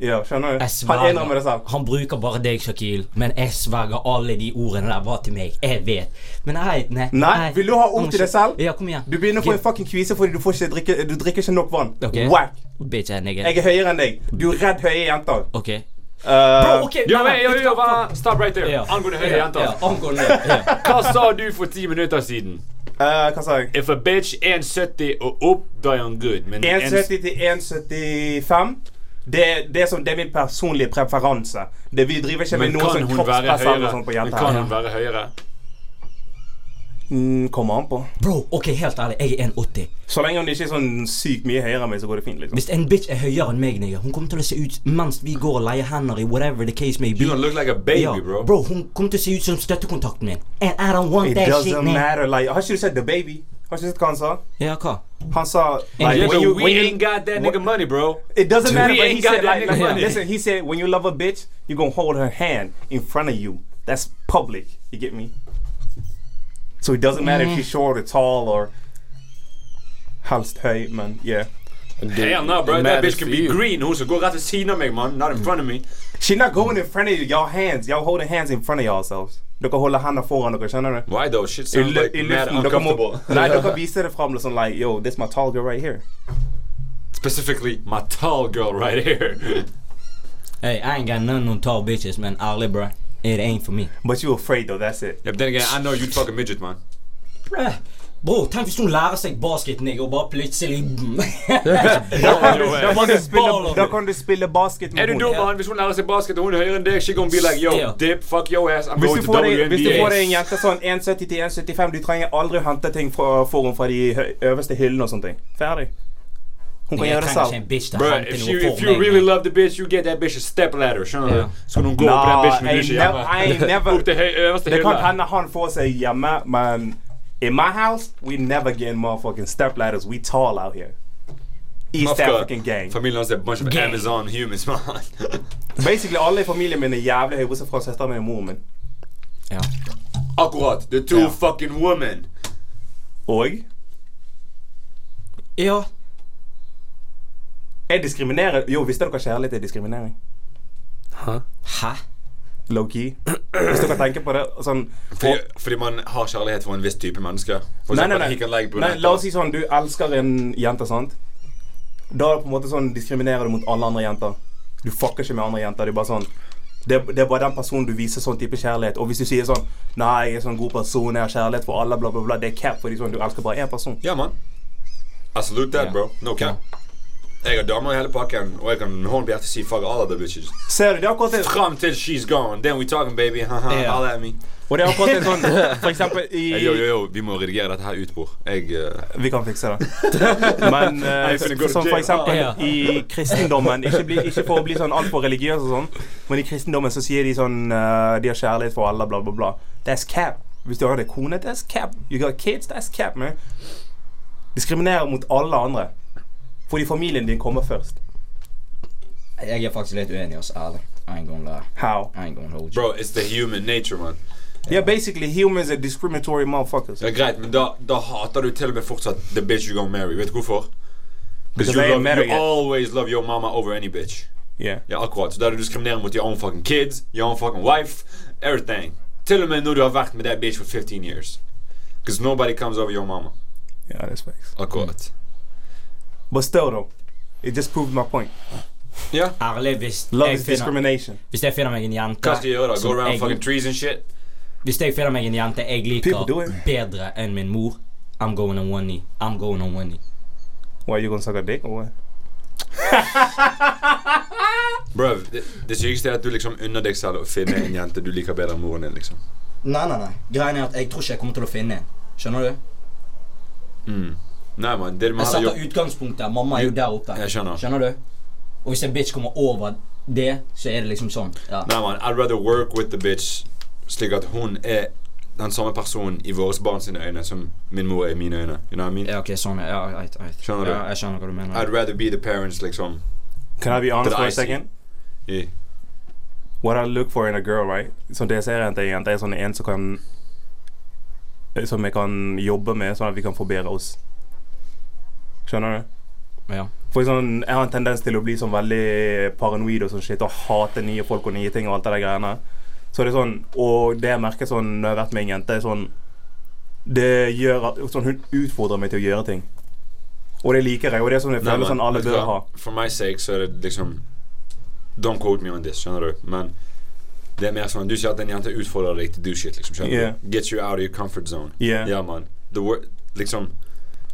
Speaker 1: Ja, skjønner du?
Speaker 2: Jeg
Speaker 1: Han
Speaker 2: sverger.
Speaker 1: innrømmer det selv.
Speaker 2: Han bruker bare deg, Shakil. Men jeg sverger alle de ordene der var til meg. Jeg vet. Men nei, nei.
Speaker 1: Nei, vil du ha ord til deg selv?
Speaker 2: Ja, kom igjen.
Speaker 1: Du begynner å få en fucking kvise fordi du, får ikke drikke, du drikker ikke nok vann.
Speaker 2: Ok.
Speaker 1: Whack.
Speaker 2: Bitch, jeg er nigger.
Speaker 1: Jeg er høyere enn deg. Du er redd høye jenter.
Speaker 2: Ok.
Speaker 1: Eh,
Speaker 2: Bro, ok,
Speaker 3: Ja,
Speaker 2: nei,
Speaker 3: men,
Speaker 2: nei,
Speaker 3: jo,
Speaker 2: vet du
Speaker 3: jo,
Speaker 2: hva?
Speaker 3: bare Stop right there.
Speaker 2: Ja.
Speaker 3: Angående høye
Speaker 2: Ja,
Speaker 3: jenter.
Speaker 2: ja, Angående ja.
Speaker 3: Hva sa du for ti minutter siden?
Speaker 1: eh, hva sa jeg?
Speaker 3: If a bitch 1,70 og opp, da er hun good. Men en-
Speaker 1: 1,70 til 1,75. Det, det, er som, det er min personlige preferanse. Det, vi driver ikke
Speaker 3: men
Speaker 1: med noe
Speaker 3: kan
Speaker 1: sånn
Speaker 3: hun være
Speaker 1: kroppspress eller
Speaker 3: høyere?
Speaker 1: noe sånt på
Speaker 3: Men
Speaker 1: jenter.
Speaker 3: kan
Speaker 1: her.
Speaker 3: hun være høyere?
Speaker 1: Mm, kommer an på.
Speaker 2: Bro, ok, helt ærlig, jeg er 1,80.
Speaker 1: Så lenge hun ikke er sånn sykt mye høyere enn meg, så går det fint. liksom
Speaker 2: Hvis en bitch er høyere enn meg, nigga, hun kommer til å se ut mens vi går og leier hender i whatever the case may be.
Speaker 3: You don't look like a baby,
Speaker 2: Ja,
Speaker 3: bro.
Speaker 2: bro, hun kommer til å se ut som støttekontakten min. And I don't want
Speaker 1: It
Speaker 2: that shit,
Speaker 1: doesn't
Speaker 2: man.
Speaker 1: matter, like Har ikke du sett The Baby? Har ikke du sett hva han sa?
Speaker 2: Ja, hva?
Speaker 1: Han sa like,
Speaker 3: Yeah,
Speaker 1: when
Speaker 3: but
Speaker 1: you-
Speaker 3: we
Speaker 1: when you-
Speaker 3: ain't got that nigga money, bro.
Speaker 1: It doesn't matter.
Speaker 3: We
Speaker 1: But he
Speaker 3: ain't got
Speaker 1: said,
Speaker 3: that
Speaker 1: like,
Speaker 3: nigga
Speaker 1: like,
Speaker 3: money.
Speaker 1: listen, he said, when you love a bitch, you gonna hold her hand in front of you. That's public. You get me? So it doesn't
Speaker 2: Mm-hmm.
Speaker 1: matter if she's short or tall or helst høy, men yeah.
Speaker 3: Hell no, bro. That
Speaker 4: it matters
Speaker 3: bitch can
Speaker 4: for
Speaker 3: be
Speaker 4: you.
Speaker 3: green. Hun som går rett ved siden av meg, man. Not in front of me.
Speaker 1: She not going in front of you. Y'all hands. Y'all holding hands in front of yourselves. Dere holder handa foran dere, skjønner du?
Speaker 3: Why though? Shit
Speaker 1: I
Speaker 3: sounds
Speaker 1: lu-
Speaker 3: like
Speaker 1: i
Speaker 3: mad
Speaker 1: luften, dere må-
Speaker 3: uncomfortable.
Speaker 1: Nei, dere viser det fram liksom like, yo, this my tall girl right here.
Speaker 3: Specifically, my tall girl right here.
Speaker 2: Hey, I ain't got none on tall bitches, man. Ærlig, bro. It ain't for me.
Speaker 1: But you afraid though, that's it.
Speaker 3: Yeah, but then again, I know you'd fuck a midget, man.
Speaker 2: Bruh. Bro, tenk hvis hun lærer seg basket, nigga, og bare plutselig
Speaker 3: Ball
Speaker 1: Da
Speaker 3: your
Speaker 1: kan
Speaker 3: ass.
Speaker 1: du spille,
Speaker 2: Baller.
Speaker 1: da kan du spille basket
Speaker 3: Er
Speaker 1: med
Speaker 3: du dum,
Speaker 1: henne.
Speaker 3: mann? Hvis hun lærer seg basket, og hun er høyere enn deg, she gonna be like, yo,
Speaker 2: Ja.
Speaker 3: dip, fuck your ass, I'm
Speaker 1: Hvis
Speaker 3: going
Speaker 1: du
Speaker 3: to
Speaker 1: får deg, hvis du får deg en
Speaker 3: WNBA.
Speaker 1: jente sånn 1,70 til 1,75, du trenger aldri å hente ting fra, for henne fra de hø- øverste hyllene og sånne ting. Ferdig. Hun kan gjøre det selv.
Speaker 3: Bro,
Speaker 2: Bruh,
Speaker 3: if you, if you really love the bitch, you get that bitch a step ladder, skjønner du? Så hun går opp på
Speaker 1: Nah,
Speaker 3: den bitchen med
Speaker 1: I
Speaker 3: dusj
Speaker 1: nev- I ain't
Speaker 3: hjemme.
Speaker 1: never-
Speaker 3: Opp til høy- øverste
Speaker 1: Det kan
Speaker 3: hylla.
Speaker 1: hende han får seg hjemme, men in my house, we never get motherfucking step ladders. We tall out here. East
Speaker 3: Mafka.
Speaker 1: African gang.
Speaker 3: Familien hans er a bunch of
Speaker 2: Gang.
Speaker 3: Amazon humans, man.
Speaker 1: Basically, alle i familien min er jævlig høye, bortsett fra søsteren min og moren min.
Speaker 3: Akkurat. The two
Speaker 1: Ja.
Speaker 3: fucking women.
Speaker 1: Og
Speaker 2: Ja.
Speaker 1: jeg diskriminerer Jo, visste dere kjærlighet er diskriminering?
Speaker 2: Hæ?
Speaker 1: Low-key. Hvis dere tenker på det sånn
Speaker 3: Fordi, fordi man har kjærlighet for en viss type menneske. For
Speaker 1: Nei, nei,
Speaker 3: eksempel,
Speaker 1: nei.
Speaker 3: he can like
Speaker 1: nei. La oss
Speaker 3: brunetter.
Speaker 1: si sånn, du elsker en jente, sant? Da er det på en måte sånn, diskriminerer du mot alle andre jenter. Du fucker ikke med andre jenter. Det er bare sånn det, det er bare den personen du viser sånn type kjærlighet. Og hvis du sier sånn Nei, jeg er sånn god person, jeg har kjærlighet for alle, bla, bla, bla. Det er cap, fordi sånn, du elsker bare én person.
Speaker 3: Ja, mann. I salute that, bro. No cap. Jeg har damer i hele pakken, og jeg kan med hånden på hjertet si fuck all of the bitches.
Speaker 1: Ser du, det er akkurat det.
Speaker 3: Fram til she's gone. Then we talking, baby. Haha,
Speaker 2: Ja.
Speaker 3: holla at me.
Speaker 1: Og det er akkurat det sånn For eksempel i
Speaker 3: Hey, yo, yo, yo, vi må redigere dette her ut, bror. Jeg eh,
Speaker 1: Vi kan fikse det. Men eh,
Speaker 3: finner god
Speaker 1: som for
Speaker 3: jail.
Speaker 1: eksempel
Speaker 2: Ja.
Speaker 1: i kristendommen ikke, bli, ikke for å bli sånn altfor religiøs og sånn, men i kristendommen så sier de sånn eh, De har kjærlighet for alle, bla, bla, bla. That's cap. Hvis du har en kone, that's cap. You got kids, that's cap, man. Diskriminere mot alle andre. Fordi familien din kommer først.
Speaker 5: Jeg er faktisk litt uenig, ass. Ærlig. I ain't gonna lie.
Speaker 1: How?
Speaker 5: I ain't gonna hold you.
Speaker 3: Bro, it's the human nature, man.
Speaker 1: Yeah, basically humans are discriminatory motherfuckers.
Speaker 3: Det er greit, men da, da hater du til og med fortsatt the bitch you gonna marry. Vet du hvorfor?
Speaker 1: Because
Speaker 3: Because you,
Speaker 1: I ain't
Speaker 3: love,
Speaker 1: married
Speaker 3: you
Speaker 1: yet.
Speaker 3: always love your mama over any bitch.
Speaker 1: Yeah.
Speaker 3: Ja, akkurat. Så da er du diskriminerende mot your own fucking kids, your own fucking wife, everything. Til og med når du har vært med that bitch for 15 years. Because nobody comes over your mama.
Speaker 1: Yeah, that's facts.
Speaker 3: Akkurat.
Speaker 1: But still though, it just proved my point.
Speaker 3: Hmm. Ja.
Speaker 2: Ærlig, hvis
Speaker 1: Love
Speaker 2: jeg
Speaker 1: is
Speaker 2: finner
Speaker 1: discrimination.
Speaker 2: Hvis jeg finner meg en jente
Speaker 3: Hva skal jeg gjøre da? Go
Speaker 2: som
Speaker 3: around
Speaker 2: jeg-
Speaker 3: fucking trees and shit?
Speaker 2: Hvis jeg finner meg en jente jeg liker
Speaker 1: People do it.
Speaker 2: bedre enn min mor I'm going on one knee. I'm going on one knee.
Speaker 1: Why you gonna suck a dick or what?
Speaker 3: Bro, det, det sykeste er at du liksom unner deg selv å finne en jente du liker bedre enn moren din, liksom.
Speaker 5: Nei, nei, nei. Greien er at jeg tror ikke jeg kommer til å finne en. Skjønner du?
Speaker 3: Mm. Nei, mann. Det man
Speaker 5: Jeg
Speaker 3: har
Speaker 5: setter
Speaker 3: gjort
Speaker 5: utgangspunktet. Mamma er jo der oppe.
Speaker 3: Jeg skjønner.
Speaker 5: Skjønner du? Og hvis en bitch kommer over det, så er det liksom sånn. Ja.
Speaker 3: Nei, mann. I'd rather work with the bitch slik at hun er den samme personen i våre barn sine øyne som min mor er i mine øyne. You know what I mean?
Speaker 5: Ja, ok, sånn. Ja, right, right.
Speaker 3: Skjønner du?
Speaker 5: Ja, jeg skjønner hva du mener.
Speaker 3: I'd rather be the parents, liksom.
Speaker 1: Can I be honest
Speaker 3: Did
Speaker 1: for a
Speaker 3: I see-
Speaker 1: second?
Speaker 3: I,
Speaker 1: What I look for in a girl, right? Så det jeg ser etter en jente, er sånn en som kan Som jeg kan jobbe med, sånn at vi kan forbedre oss. Skjønner du?
Speaker 5: Ja.
Speaker 1: For sånn, Jeg har en tendens til å bli sånn veldig paranoid og sånn shit, og hate nye folk og nye ting og alt det der greiene. Så det er sånn, Og det jeg merker sånn når jeg har vært med en jente, er sånn Det gjør at sånn, Hun utfordrer meg til å gjøre ting. Og det liker jeg, og det er sånn jeg
Speaker 3: Nei,
Speaker 1: føler
Speaker 3: men,
Speaker 1: sånn alle
Speaker 3: vet du
Speaker 1: bør
Speaker 3: hva?
Speaker 1: ha.
Speaker 3: For meg sake så er det liksom Don't quote me on this, skjønner du. Men det er mer sånn Du sier at en jente utfordrer deg til do shit, liksom. Skjønner
Speaker 1: Yeah.
Speaker 3: du? Get you out of your comfort zone.
Speaker 1: Yeah.
Speaker 3: Ja, mann. The wor- Liksom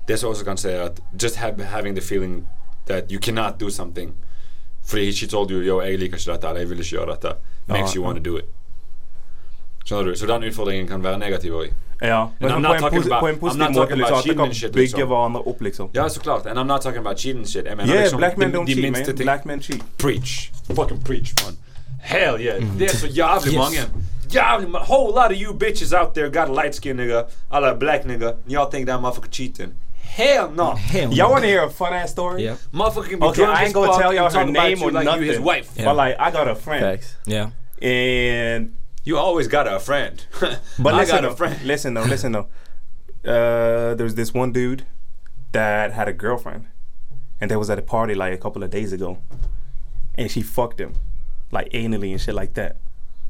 Speaker 3: Det som også kan si, er at just have, having the feeling that you cannot do something fordi she told you Yo, jeg liker ikke dette, eller jeg vil ikke gjøre dette, makes
Speaker 1: Ja,
Speaker 3: you want to do it. Skjønner du? Så den utfordringen kan være negativ òg.
Speaker 1: Ja, men
Speaker 3: I'm
Speaker 1: sånn,
Speaker 3: not
Speaker 1: på, en
Speaker 3: talking
Speaker 1: posi-
Speaker 3: about-
Speaker 1: på en
Speaker 3: I'm
Speaker 1: positiv
Speaker 3: not
Speaker 1: måte,
Speaker 3: talking
Speaker 1: liksom,
Speaker 3: about
Speaker 1: at det
Speaker 3: cheating
Speaker 1: kan
Speaker 3: and shit,
Speaker 1: bygge
Speaker 3: liksom.
Speaker 1: hverandre opp, liksom.
Speaker 3: Ja, så klart. And I'm not talking about cheating and shit. Jeg mener
Speaker 1: Yeah,
Speaker 3: liksom
Speaker 1: black men
Speaker 3: de,
Speaker 1: don't
Speaker 3: de
Speaker 1: cheat,
Speaker 3: minste
Speaker 1: man.
Speaker 3: ting.
Speaker 1: Black men cheat.
Speaker 3: Preach. Fucking preach, man. Hell yeah.
Speaker 1: Mm-hmm.
Speaker 3: Det er så jævlig
Speaker 5: Yes.
Speaker 3: mange. Jævlig ma Whole lot of you bitches out there got a light skin nigga, a la black nigga, and y'all think that motherfucker cheating. Hell no.
Speaker 5: Hell
Speaker 1: Y'all wanna hear a fun ass story?
Speaker 5: Yeah.
Speaker 3: Motherfucker can be
Speaker 1: Mm-hmm. Okay,
Speaker 3: drunk
Speaker 1: I ain't
Speaker 3: as
Speaker 1: gonna
Speaker 3: fuck
Speaker 1: tell
Speaker 3: and
Speaker 1: y'all her
Speaker 3: talk about
Speaker 1: name
Speaker 3: you
Speaker 1: or
Speaker 3: like
Speaker 1: nothing.
Speaker 3: you his wife.
Speaker 5: Yeah.
Speaker 1: But like, I got a friend,
Speaker 4: Facts.
Speaker 5: Yeah.
Speaker 1: and
Speaker 3: You always got a friend.
Speaker 1: but
Speaker 3: I
Speaker 1: listen,
Speaker 3: got
Speaker 1: though,
Speaker 3: a friend.
Speaker 1: listen though, listen though. Uh, there was this one dude that had a girlfriend, and they was at a party like a couple of days ago, and she fucked him, like anally and shit like that,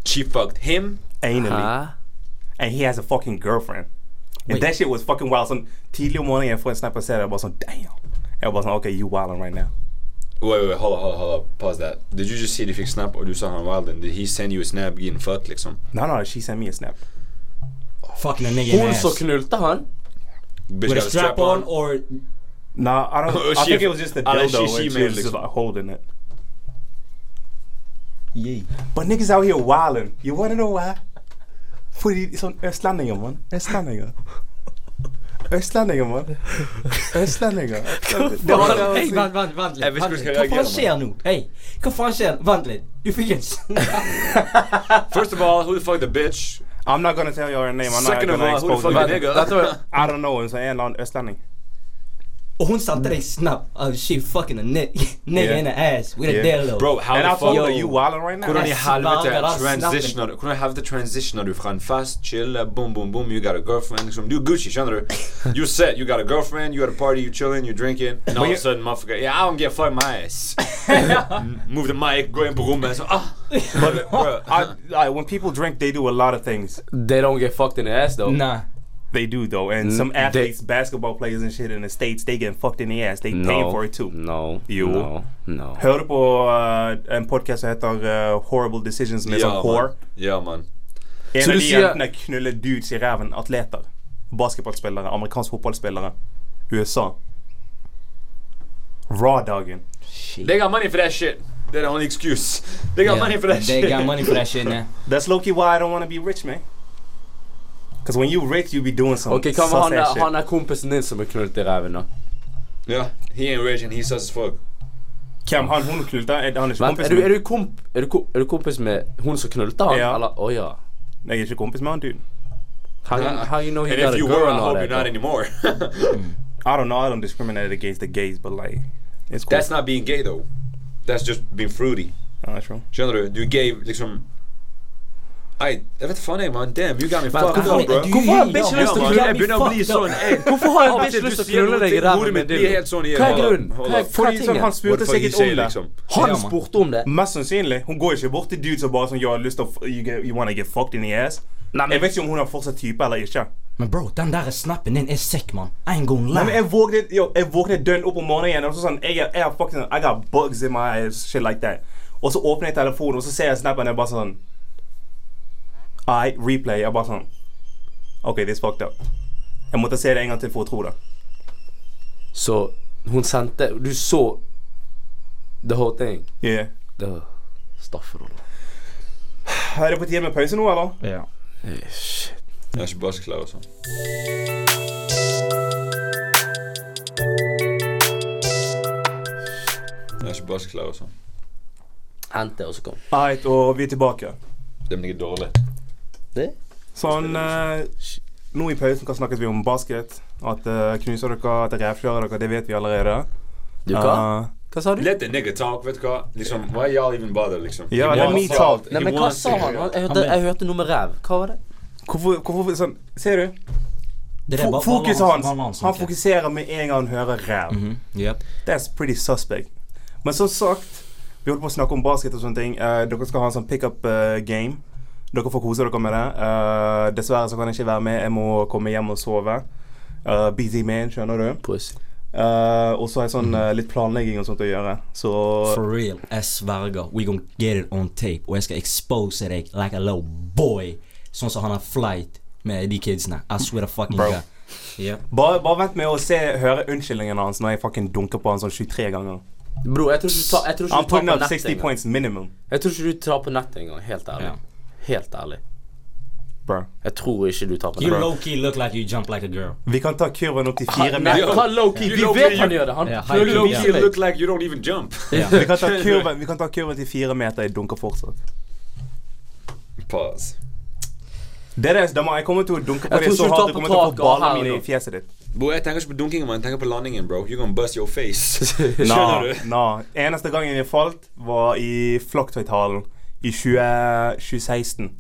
Speaker 3: She fucked him.
Speaker 1: anally,
Speaker 4: Hæ?
Speaker 1: and he has a fucking girlfriend. And
Speaker 5: Uh-huh. Wait.
Speaker 1: that shit was fucking wild. Some Telia morning and Fred Sniper said, I was on, damn. I was on, okay, you wilding right now.
Speaker 3: Wait, wait, wait, hold up, hold up, hold up. Pause that. Did you just see the fix snap or do something wild? And did he send you a snap getting fucked, like some?
Speaker 1: No, no, she sent me a snap.
Speaker 5: Fucking a nigga in
Speaker 4: Hun
Speaker 5: the
Speaker 4: som
Speaker 5: ass.
Speaker 4: knulte han?
Speaker 3: Bitch
Speaker 5: With a
Speaker 3: got
Speaker 5: strap on or
Speaker 1: No, I don't.
Speaker 3: Oh,
Speaker 1: I
Speaker 3: she-
Speaker 1: think it was just the
Speaker 3: I
Speaker 1: dildo,
Speaker 3: like she-
Speaker 1: and
Speaker 3: she
Speaker 1: she
Speaker 3: made
Speaker 1: was
Speaker 3: it
Speaker 1: just
Speaker 3: look-
Speaker 1: like holding it.
Speaker 5: Yeah.
Speaker 1: But niggas out here wilding. You wanna know why? Fordi sånn østlendinger, mann. Østlendinger. Østlendinger, mann. Østlendinger. Det var det.
Speaker 5: Hei, vent, vent, vent litt.
Speaker 3: Jeg visste
Speaker 5: Vent
Speaker 3: ikke
Speaker 5: litt. Hva
Speaker 3: hvordan jeg
Speaker 5: faen
Speaker 3: reagerer,
Speaker 5: skjer nå? Hei, hva faen skjer? Vent litt. Du fikk en
Speaker 3: First of all, who the fuck the bitch?
Speaker 1: I'm not gonna tell you her name. I'm not
Speaker 3: Second of
Speaker 1: gonna
Speaker 3: all, who the
Speaker 1: expose
Speaker 3: fuck
Speaker 1: you.
Speaker 3: the nigga?
Speaker 1: I don't know. Så er en eller annen østlending.
Speaker 5: Og hun sendte deg snap av she fucking a ni- nigga
Speaker 1: Yeah.
Speaker 5: in the ass with a
Speaker 1: Yeah.
Speaker 5: dildo.
Speaker 3: Bro, how
Speaker 1: And I
Speaker 3: the
Speaker 1: thought,
Speaker 3: fuck?
Speaker 1: are you wilding right now?
Speaker 3: Hvordan i
Speaker 5: Jeg
Speaker 3: helvete
Speaker 5: sverger, da
Speaker 3: transitioner du? Hvordan i helvete transitioner du fra en fest, chill, uh, boom, boom, boom, you got a girlfriend, liksom. Du er Gucci, skjønner du? You set, you got a girlfriend, you at a party, you chilling, you drinking, and all of a sudden, motherfucker, yeah, I don't give a fuck my ass. M- Move the mic, gå inn på rommet, så, ah! But, bro,
Speaker 1: I, I, when people drink, they do a lot of things.
Speaker 4: They don't get fucked in the ass, though.
Speaker 5: Nah.
Speaker 1: They do though, and
Speaker 4: Mm,
Speaker 1: some
Speaker 4: they-
Speaker 1: athletes, basketball players and shit in the states, they getting fucked in the ass. They paying
Speaker 4: No.
Speaker 1: for it too.
Speaker 4: No.
Speaker 1: Jo.
Speaker 4: No. no.
Speaker 1: Hørte på eh, en podkast som heter eh, Horrible Decisions med
Speaker 3: ja,
Speaker 1: sånn
Speaker 3: man.
Speaker 1: hår.
Speaker 3: Ja, man.
Speaker 1: En
Speaker 4: Så
Speaker 1: av
Speaker 4: du
Speaker 1: de
Speaker 4: sier-
Speaker 1: jentene knuller dudes i ræven. Atleter. Basketballspillere. Amerikanske fotballspillere. USA. Raw-dagen.
Speaker 3: They got money for that shit. They're the only excuse. They got money for that shit.
Speaker 5: They got money for that shit, man.
Speaker 1: That's low-key why I don't want to be rich, man. Because when you rich, you be doing some
Speaker 4: Ok, hva
Speaker 1: sus
Speaker 4: med han,
Speaker 1: ass
Speaker 4: der-
Speaker 1: shit.
Speaker 4: han er kompisen din som er knult i ræven, da?
Speaker 3: Yeah, he ain't rich and he sus as fuck.
Speaker 1: Hvem han hun knulte? Er han ikke
Speaker 4: Vent, er
Speaker 1: kompis
Speaker 4: du, er,
Speaker 1: med?
Speaker 4: du komp, er, du, ko- er du kompis med hun som knulte han?
Speaker 1: Ja.
Speaker 4: Eller, å ja.
Speaker 1: Jeg er ikke kompis med han dude.
Speaker 4: How, you- how you know he
Speaker 3: And if
Speaker 4: got a
Speaker 3: you were,
Speaker 4: girl
Speaker 3: I
Speaker 4: and all
Speaker 3: hope you're
Speaker 4: that?
Speaker 3: not
Speaker 4: though?
Speaker 3: anymore.
Speaker 1: I don't know. I don't discriminate against the gays, but like, it's cool.
Speaker 3: That's not being gay though. That's just being fruity.
Speaker 1: Ah, that's true.
Speaker 3: Skjønner du? Du er gay, liksom Ei, jeg vet faen jeg, man. Damn, you got me
Speaker 4: hvorfor-
Speaker 3: fucked up, bro.
Speaker 5: du-
Speaker 4: Hvorfor har jeg
Speaker 5: Ja,
Speaker 4: bitch lyst til
Speaker 5: man.
Speaker 4: å
Speaker 3: man,
Speaker 4: knulle
Speaker 3: jeg begynner å bli sånn. Ei,
Speaker 4: Hvorfor har
Speaker 3: Av
Speaker 4: jeg
Speaker 3: og
Speaker 4: bitch
Speaker 3: til
Speaker 4: lyst
Speaker 3: du
Speaker 4: til å
Speaker 3: sier
Speaker 4: knulle
Speaker 3: noen
Speaker 4: deg i
Speaker 3: ting, hodet
Speaker 4: ræven
Speaker 3: mitt
Speaker 4: med
Speaker 3: blir
Speaker 4: dildo?
Speaker 3: helt sånn i
Speaker 4: Hva er
Speaker 3: hele-
Speaker 4: grunnen?
Speaker 3: Hold
Speaker 4: Hva er-
Speaker 3: up.
Speaker 4: Hva
Speaker 1: Fordi
Speaker 4: er
Speaker 1: sånn, han
Speaker 4: tingen?
Speaker 1: spurte
Speaker 3: What the fuck
Speaker 1: sikkert
Speaker 3: you say,
Speaker 1: om det.
Speaker 3: liksom?
Speaker 4: Han
Speaker 5: Ja, man.
Speaker 4: spurte om det.
Speaker 1: Mest sannsynlig. Hun går ikke bort til dudes og bare sånn Yo, jeg har lyst til å f- you, get- you wanna get fucked in the ass. Jeg
Speaker 4: Nei, men
Speaker 1: vet ikke om hun har fortsatt type eller ikke.
Speaker 5: Men bro, den der snappen din er sick, mann. I ain't gonna
Speaker 1: Nei, men
Speaker 5: lie.
Speaker 1: jeg våknet, yo, jeg våknet døgn opp om morgenen igjen, og så sånn jeg, jeg, har fucking, I got bugs in my eyes, shit like that. Og så åpner jeg telefonen, og så ser jeg snappen, og jeg bare sånn I replay. Jeg bare sånn OK, this fucked up. Jeg måtte se det en gang til for å tro det.
Speaker 4: Så hun sendte Du så the whole thing?
Speaker 1: Yeah.
Speaker 4: Det Stafferolle.
Speaker 1: Er det på tide med pause nå, eller?
Speaker 5: Ja.
Speaker 4: Shit.
Speaker 3: Jeg er ikke basseklar og sånn. Jeg er ikke basseklar og sånn.
Speaker 4: Hente, og så kom.
Speaker 1: Right, og vi er tilbake.
Speaker 3: Det blir dårlig.
Speaker 4: Det?
Speaker 1: Sånn eh, Nå i pausen kan snakkes vi om basket. At eh, knuser dere, at det revkjører dere, det vet vi allerede.
Speaker 4: Du, hva?
Speaker 1: Eh,
Speaker 4: Hva sa du?
Speaker 3: Let the nigga talk, vet du hva? Liksom, why y'all even bother, liksom?
Speaker 1: Ja,
Speaker 3: He
Speaker 1: let
Speaker 3: wants
Speaker 1: me
Speaker 3: to-
Speaker 1: talk.
Speaker 3: he
Speaker 4: Nei, men hva
Speaker 3: wants
Speaker 4: sa
Speaker 3: to-
Speaker 4: han? Han- Jeg hørte, jeg hørte noe med ræv. Hva var det?
Speaker 1: Hvorfor, hvorfor sånn Ser du?
Speaker 2: Det
Speaker 1: Fo- Fokuset
Speaker 2: balansen,
Speaker 1: hans.
Speaker 2: balansen,
Speaker 1: Han
Speaker 2: ok.
Speaker 1: fokuserer med en gang han hører ræv.
Speaker 2: Mhm, Jep.
Speaker 1: That's pretty suspect. Men som sagt, vi holdt på å snakke om basket og sånne ting. Eh, dere skal ha en sånn pickup eh, game. Dere får kose dere med det. Eh, dessverre så kan jeg ikke være med. Jeg må komme hjem og sove. Eh, busy man, skjønner du.
Speaker 4: Pussy.
Speaker 1: Eh, og så har jeg sånn
Speaker 4: Mhm.
Speaker 1: eh, litt planlegging og sånt å gjøre. Så
Speaker 2: For real. Jeg sverger. We gonna get it on tape. Og jeg skal expose deg like a little boy. Sånn som han har flight med de kidsene. I swear to fucking
Speaker 1: Bro.
Speaker 2: God. Yep.
Speaker 1: bare, bare vent med å se, høre unnskyldningene hans når jeg fucking dunker på han sånn 23 ganger.
Speaker 4: Bro, jeg tror ikke du tar, jeg tror ikke
Speaker 1: I'm
Speaker 4: du tar
Speaker 1: putting
Speaker 4: på
Speaker 1: up
Speaker 4: nettet
Speaker 1: 60
Speaker 4: engang.
Speaker 1: points minimum,
Speaker 4: Jeg tror ikke du tar på nettet engang. Helt ærlig.
Speaker 2: Ja.
Speaker 4: Helt ærlig.
Speaker 1: bro.
Speaker 4: Jeg tror ikke du tar på
Speaker 2: You
Speaker 4: nettet.
Speaker 2: low-key look like you jump like a girl.
Speaker 1: Vi kan ta kurven opp til fire
Speaker 4: Nei,
Speaker 1: meter.
Speaker 4: hva low-key?
Speaker 3: You
Speaker 4: Vi
Speaker 3: low-key,
Speaker 4: vet han
Speaker 3: you-
Speaker 4: gjør det. Han
Speaker 2: Ja,
Speaker 3: You
Speaker 2: high
Speaker 4: prøver å
Speaker 3: low
Speaker 2: low-key,
Speaker 4: vise
Speaker 3: key
Speaker 4: deg.
Speaker 3: look like you don't even jump.
Speaker 2: Ja.
Speaker 1: Vi kan ta kurven, vi kan ta kurven til fire meter. Jeg dunker fortsatt.
Speaker 3: Pause.
Speaker 1: Det er det, da må jeg komme til å dunke på
Speaker 4: Jeg
Speaker 1: deg
Speaker 4: tror
Speaker 1: så
Speaker 4: ikke du
Speaker 1: hardt
Speaker 4: tar
Speaker 1: du
Speaker 4: på
Speaker 1: kommer til å få
Speaker 4: taket og
Speaker 1: ballene
Speaker 4: her
Speaker 1: mine
Speaker 4: nå.
Speaker 1: i fjeset ditt.
Speaker 3: Bro, jeg tenker ikke på dunkingen, man. Jeg tenker på landingen, bro. You're gonna bust your face.
Speaker 1: Na,
Speaker 3: Skjønner du?
Speaker 1: na. Eneste gangen jeg falt, var i Flocktøytalen i 20, 2016.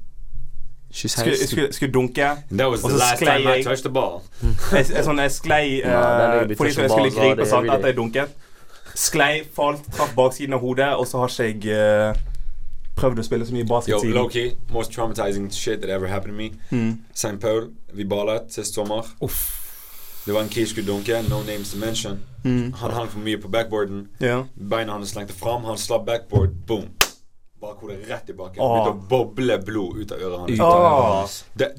Speaker 1: Skulle, skulle, skulle dunke.
Speaker 3: That was
Speaker 1: Og
Speaker 3: the
Speaker 1: så
Speaker 3: last
Speaker 1: sklei
Speaker 3: time I
Speaker 1: jeg.
Speaker 3: touched the ball.
Speaker 1: Jeg, jeg, sånn, jeg sklei eh,
Speaker 4: Ja, den er liksom litt
Speaker 1: fordi så jeg skulle
Speaker 4: touch and ball,
Speaker 1: gripe
Speaker 4: det er
Speaker 1: sant,
Speaker 4: everyday.
Speaker 1: at jeg dunket. Sklei, falt, traff baksiden av hodet, og så har ikke jeg eh, prøvd å spille så mye basket
Speaker 3: Yo, low
Speaker 1: siden.
Speaker 3: key, most traumatizing shit that ever happened to me. St. Paul, vi ballet sist sommer. Det var en key skulle dunke, no names to mention. Han hang for mye på backboarden.
Speaker 1: Ja.
Speaker 3: Beina hans slengte fram, han slapp backboard, boom. Bakhodet rett i bakken.
Speaker 1: Åh.
Speaker 3: Begynte å boble blod ut av øret hans.
Speaker 1: Åh.
Speaker 3: Det,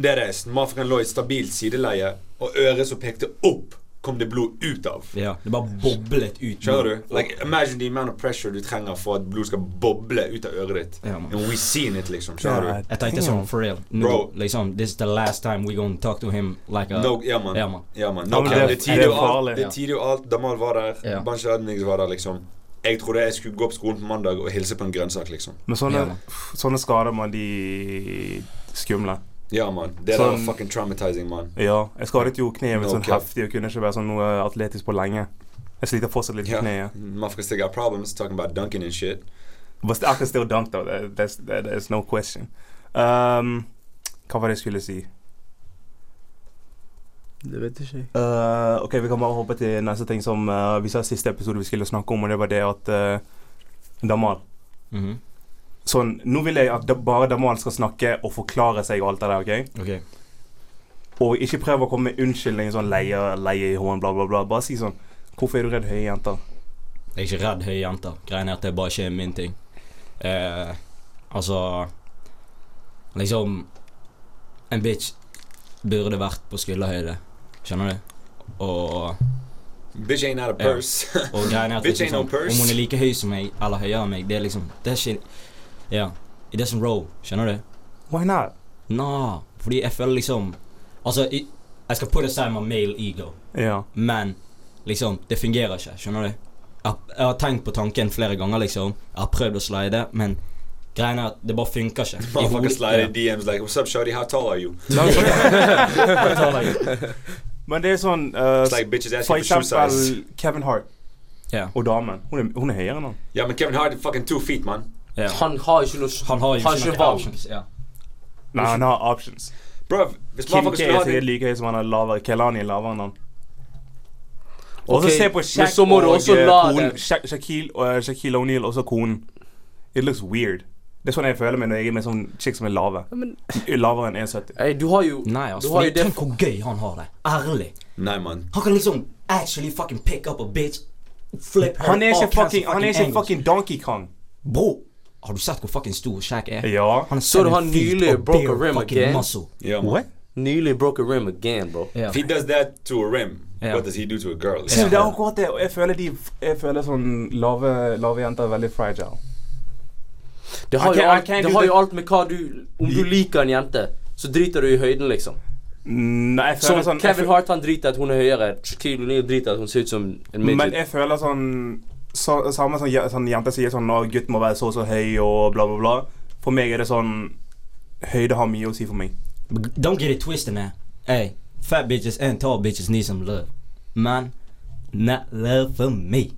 Speaker 3: det er det. Mafrikan lå i et stabilt sideleie, og øret som pekte opp, kom det blod ut av.
Speaker 2: Ja, det bare boblet ut.
Speaker 3: Skjønner
Speaker 1: Mm.
Speaker 3: du? Like, imagine the amount of pressure du trenger for at blod skal boble ut av øret ditt.
Speaker 2: Ja, man.
Speaker 3: And we seen it, liksom. Skjønner du?
Speaker 2: Jeg tenkte sånn, for real. Nå,
Speaker 3: Bro.
Speaker 2: liksom, this is the last time we gonna talk to him like a
Speaker 3: No, ja, man.
Speaker 2: Ja, man.
Speaker 3: Ja, man.
Speaker 1: Ja,
Speaker 3: No,
Speaker 1: men
Speaker 3: cap.
Speaker 1: det-
Speaker 3: det
Speaker 1: det
Speaker 3: tidde
Speaker 1: er
Speaker 3: jo alt.
Speaker 1: farlig,
Speaker 3: Det
Speaker 1: ja.
Speaker 3: tidde jo alt. Damal var der.
Speaker 2: Ja.
Speaker 3: Bunch of Ednings var der, liksom. Jeg trodde jeg skulle gå på skolen på mandag og hilse på en grønnsak, liksom.
Speaker 1: Men sånne,
Speaker 2: Ja.
Speaker 1: sånne skader, man, de skumle.
Speaker 3: Ja, man. Det der
Speaker 1: Sånn-
Speaker 3: var fucking traumatizing, man.
Speaker 1: Ja, jeg skadet jo kneet mitt
Speaker 3: No
Speaker 1: sånn
Speaker 3: cap.
Speaker 1: heftig og kunne ikke være sånn noe atletisk på lenge. Jeg sliter fortsatt litt
Speaker 3: Yeah.
Speaker 1: med kneet.
Speaker 3: Motherfuckers still got problems talking about dunking and shit.
Speaker 1: But I can still dunk though, there- there's, there- there's no question. Um, hva var det jeg skulle si?
Speaker 4: Det vet ikke jeg.
Speaker 1: Eh, ok, vi kan bare hoppe til neste ting som eh, vi sa i siste episode vi skulle snakke om, og det var det at eh, Damal
Speaker 2: Mhm,
Speaker 1: Sånn, nå vil jeg at da, bare Damal skal snakke og forklare seg og alt det der, ok?
Speaker 2: Ok.
Speaker 1: Og ikke prøve å komme med unnskyldning sånn leie, leie i hånden, bla, bla, bla. Bare si sånn Hvorfor er du redd høye jenter?
Speaker 2: Jeg er ikke redd høye jenter. Greien er at det bare ikke er min ting. Eh, altså Liksom En bitch burde vært på skulderhøyde. Skjønner du? Og,
Speaker 3: Bitch ain't out of
Speaker 2: Ja.
Speaker 3: purse.
Speaker 2: og greien er at
Speaker 3: Bitch
Speaker 2: liksom,
Speaker 3: ain't no purse.
Speaker 2: om hun er like høy som meg, eller høyere enn meg, det er liksom Det er ikke Ja. It doesn't roll. Skjønner du?
Speaker 1: Why not?
Speaker 2: Nah. Fordi jeg føler liksom Altså, jeg, jeg skal put aside my male ego.
Speaker 1: Ja.
Speaker 2: Men liksom, det fungerer ikke, skjønner du? Jeg, jeg har tenkt på tanken flere ganger, liksom. Jeg har prøvd å slide, men greien er at det bare funker ikke. I
Speaker 3: Motherfuckers
Speaker 2: hodet-
Speaker 3: slide in DMs like, what's up, shorty? How tall are you?
Speaker 1: Men det er sånn eh,
Speaker 3: It's like bitches
Speaker 1: For
Speaker 3: asking for shoe size.
Speaker 1: eksempel Kevin Hart
Speaker 2: Ja.
Speaker 1: og damen. Hun er, hun er høyere enn han.
Speaker 3: Ja, men Kevin Hart is fucking two feet, man.
Speaker 2: Ja.
Speaker 4: Han har ikke noe
Speaker 2: Han har jo ikke
Speaker 4: ikke
Speaker 2: noen
Speaker 4: valg.
Speaker 2: options. Ja.
Speaker 1: Nei, han har options.
Speaker 3: Bro, hvis
Speaker 1: Kim
Speaker 3: motherfuckers
Speaker 1: K
Speaker 3: skulle
Speaker 1: er
Speaker 3: ha
Speaker 1: sikkert
Speaker 3: det
Speaker 1: like høy som han er lavere. Kelani er lavere enn han. Og så
Speaker 4: Ok,
Speaker 1: se på
Speaker 4: men så
Speaker 1: Shaq
Speaker 4: må
Speaker 1: og
Speaker 4: du også
Speaker 1: eh,
Speaker 4: la
Speaker 1: konen.
Speaker 4: det-
Speaker 1: Shaq- Shaquille og eh, Shaquille O'Neal og så konen. It looks weird. Det er sånn jeg føler meg når jeg er med sånn chick som er lave.
Speaker 4: men-
Speaker 1: Lavere enn 1,70.
Speaker 4: Ey, du har jo
Speaker 2: Nei, altså.
Speaker 4: Du har jo
Speaker 2: fordi
Speaker 4: det
Speaker 2: Tenk hvor gøy han har det. Ærlig.
Speaker 3: Nei, man.
Speaker 2: Han kan liksom actually fucking pick up a bitch. Flip her.
Speaker 1: Han er
Speaker 2: all
Speaker 1: ikke
Speaker 2: kinds of
Speaker 1: fucking, han er ikke
Speaker 2: angles.
Speaker 1: fucking Donkey Kong.
Speaker 2: Bro, har du sett hvor fucking stor Shaq er?
Speaker 1: Ja.
Speaker 2: Han er
Speaker 4: Så du
Speaker 2: seven
Speaker 4: han
Speaker 2: feet
Speaker 4: nylig
Speaker 2: og
Speaker 4: broke a
Speaker 2: bare
Speaker 4: rim
Speaker 2: fucking
Speaker 4: again?
Speaker 2: muscle.
Speaker 3: Yeah, man.
Speaker 1: What?
Speaker 4: Nylig broke a rim again, bro.
Speaker 2: Ja.
Speaker 3: If he does that to a rim,
Speaker 2: Yeah.
Speaker 3: what does he do to a girl?
Speaker 1: Så Det er akkurat det. Og jeg føler, de, jeg føler sånn lave, lave jenter er veldig fragile.
Speaker 4: Det har,
Speaker 1: I can't-
Speaker 4: jo,
Speaker 1: I
Speaker 4: alt,
Speaker 1: can't
Speaker 4: det
Speaker 1: do
Speaker 4: har
Speaker 1: that.
Speaker 4: jo alt med hva du Om du liker en jente, så driter du i høyden, liksom.
Speaker 1: Nei, jeg
Speaker 4: Som
Speaker 1: føler sånn jeg
Speaker 4: Kevin
Speaker 1: føl-
Speaker 4: Hart han driter at hun er høyere. Shaquille O'Neal driter at hun ser ut som en
Speaker 1: Men
Speaker 4: midget.
Speaker 1: jeg føler sånn så, Samme som je- sånn jenter sier sånn at gutt må være så og så høy og bla, bla, bla. For meg er det sånn Høyde har mye å si for meg.
Speaker 2: But Don't get it twisted now. Hey, fat bitches and tall bitches need some love. Man, not love for me.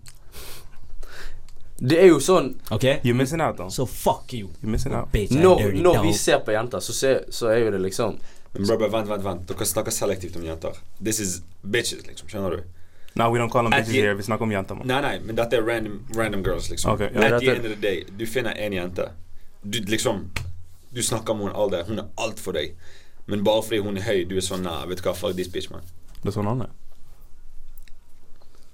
Speaker 4: Det er jo sånn
Speaker 5: OK?
Speaker 1: You're missing out, da.
Speaker 5: Så fuck you,
Speaker 1: You're missing out.
Speaker 5: bitch. I
Speaker 4: Når,
Speaker 5: dirty
Speaker 4: når vi
Speaker 5: dog.
Speaker 4: ser på jenter, så, ser, så er jo det liksom
Speaker 3: Men bror, bror, vent, vent, vent. Dere snakker selektivt om jenter. This is bitches, liksom. Skjønner du?
Speaker 1: Nei, we don't call them
Speaker 3: At
Speaker 1: bitches
Speaker 3: the-
Speaker 1: here. Vi snakker om jenter, mann.
Speaker 3: Nei, nei, men dette er random, random girls, liksom.
Speaker 1: Ok, ja.
Speaker 3: Men At the
Speaker 4: Dette-
Speaker 3: end of the day, du finner en jente. Du liksom Du snakker om henne all day. Hun er alt for deg. Men bare fordi hun er høy, du er sånn Nei, vet du hva, fuck this bitch, man.
Speaker 1: Det er sånn han er.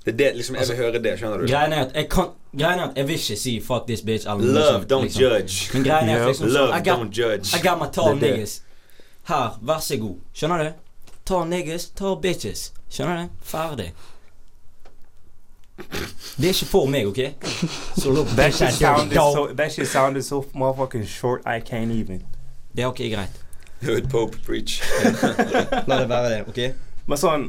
Speaker 3: Det er det, liksom,
Speaker 5: Altså,
Speaker 3: jeg vil høre det, skjønner du?
Speaker 5: Greien er at jeg kan Greien er at jeg vil ikke si 'fuck this bitch' eller noe
Speaker 3: Love,
Speaker 5: sånt,
Speaker 3: don't
Speaker 5: liksom.
Speaker 3: judge.
Speaker 5: Men greien er
Speaker 1: Yeah.
Speaker 5: at liksom sånn
Speaker 3: Love,
Speaker 5: I got,
Speaker 3: don't judge.
Speaker 5: I got my tall
Speaker 3: Det er det.
Speaker 5: niggas. Her, vær så god. Skjønner du? Tall niggas, tall bitches. Skjønner du? Ferdig. Det er ikke for meg, OK? Så look,
Speaker 1: That
Speaker 5: bitch,
Speaker 1: shit
Speaker 5: I dirty
Speaker 1: sounded
Speaker 5: dog.
Speaker 1: so that shit sounded so motherfucking short I can't even.
Speaker 5: Det er OK, greit.
Speaker 3: Hood Pope preach.
Speaker 5: La det være det, OK?
Speaker 1: My son sånn,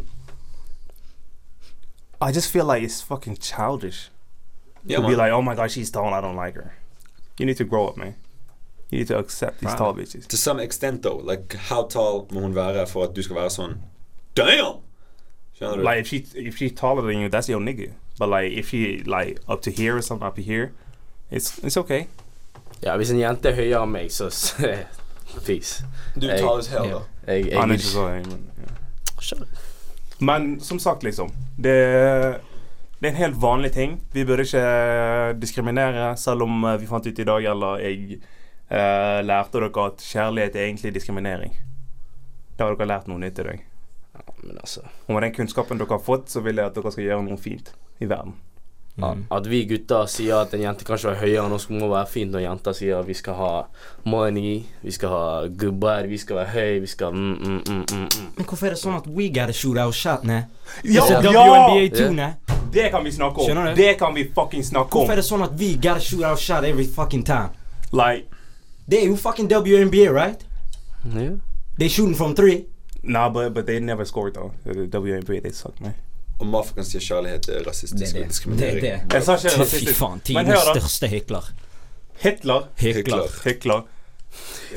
Speaker 1: I just feel like it's fucking childish.
Speaker 3: Ja,
Speaker 1: to be
Speaker 3: man.
Speaker 1: like, oh my god, she's tall and I don't like her. You need to grow up, man. You need to accept these
Speaker 5: Right.
Speaker 1: tall bitches.
Speaker 3: To some extent, though. Like, how tall må hun være for at du skal være sånn Damn! Skjønner du?
Speaker 1: Like if she if she's taller than you, that's your nigga. But like if she like up to here or something up to here, it's it's okay.
Speaker 4: Ja, hvis en jente er høyere enn meg, så s- Peace.
Speaker 3: Du
Speaker 4: Jeg-
Speaker 3: tall as hell,
Speaker 5: Ja.
Speaker 3: da.
Speaker 4: Jeg, jeg,
Speaker 1: Han er
Speaker 4: vil
Speaker 1: ikke
Speaker 4: ikke-
Speaker 1: så høy, men ja.
Speaker 4: Shut up.
Speaker 1: Men som sagt, liksom. Det, det er en helt vanlig ting. Vi burde ikke eh, diskriminere, selv om eh, vi fant ut i dag, eller jeg eh, lærte dere at kjærlighet er egentlig diskriminering. Da har dere lært noe nytt i dag.
Speaker 4: Men altså
Speaker 1: Og med den kunnskapen dere har fått, så vil jeg at dere skal gjøre noe fint i verden.
Speaker 5: Mm.
Speaker 4: At vi gutter sier at en jente kan ikke være høyere enn oss, må være fint når jenter sier at vi skal ha money, vi skal ha good body, vi skal være høy, vi skal mm, mm, mm, mm, mm.
Speaker 5: Men hvorfor er det sånn at we gotta shoot our shot, ne?
Speaker 1: Ja,
Speaker 5: It's a
Speaker 1: ja!
Speaker 5: WNBA 2,
Speaker 4: Ja.
Speaker 5: ne?
Speaker 1: Det kan vi snakke om.
Speaker 5: Skjønner du?
Speaker 1: Det kan vi fucking snakke
Speaker 5: Hvorfor
Speaker 1: om.
Speaker 5: er det sånn at we gotta shoot our shot every fucking time?
Speaker 1: Like,
Speaker 5: Det er jo fucking WNBA, right?
Speaker 4: Ja.
Speaker 5: They shooting from three.
Speaker 1: nah, but, but they never scored, though. The WNBA, they suck, man.
Speaker 3: Og motherfuckers sier kjærlighet er rasistisk og diskriminering.
Speaker 5: Det er
Speaker 1: Jeg sa ikke
Speaker 5: det. Fy
Speaker 1: rasistisk.
Speaker 5: faen.
Speaker 1: Men
Speaker 5: Tidenes
Speaker 1: hør, da.
Speaker 5: største hykler.
Speaker 1: Hitler
Speaker 5: Hykler.
Speaker 1: Hykler.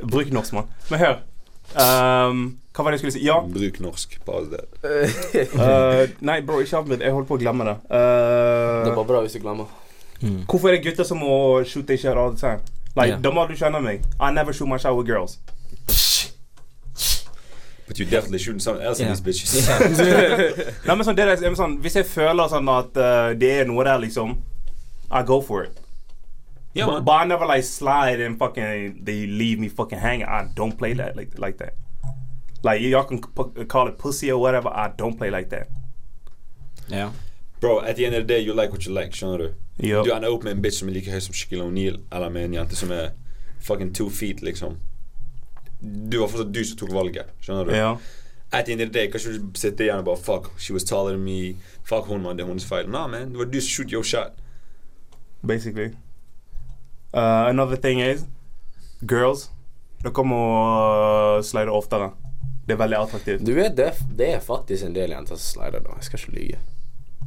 Speaker 1: Bruk norsk, mann. Men hør. Ehm, hva var det jeg skulle si? Ja.
Speaker 3: Bruk norsk på alle det.
Speaker 1: eh, nei, bro, ikke avbryt. Jeg holdt på å glemme det. Eh,
Speaker 4: Det er bare bra hvis du glemmer.
Speaker 2: Hmm.
Speaker 5: Mm.
Speaker 1: hvorfor er det gutter som må shoot their shot all the time? Like,
Speaker 5: Ja.
Speaker 1: Da må du skjønne meg. I never shoot my shot with girls.
Speaker 3: But you definitely shouldn't sound else
Speaker 5: Ja.
Speaker 3: in these bitches.
Speaker 1: nei, men sånn, det er, men sånn, hvis jeg føler sånn at eh, det er noe der, liksom I go for it.
Speaker 3: Ja,
Speaker 1: but,
Speaker 3: man.
Speaker 1: but I never like slide and fucking they leave me fucking hanging. I don't play that like like that. Like y'all can p- call it pussy or whatever. I don't play like that.
Speaker 5: Ja.
Speaker 3: Bro, at the end of the day, you like what you like, skjønner du?
Speaker 1: Yep.
Speaker 3: Du ender opp med en bitch som er like høy som Shaquille O'Neal, eller med en jente som er fucking two feet, liksom. Du var fortsatt du som tok valget, skjønner du?
Speaker 1: Ja.
Speaker 3: At the end of the day, kanskje du sitter igjen og bare Fuck, she was taller than me. Fuck hun, mann. Det er hennes feil. Nah, man. Det var du som shoot your shot.
Speaker 1: basically. Uh, another thing is girls. Dere må uh, slide oftere. Det er veldig attraktivt.
Speaker 4: Du vet det, det er faktisk en del jenter som slider, da. Jeg skal ikke lyve.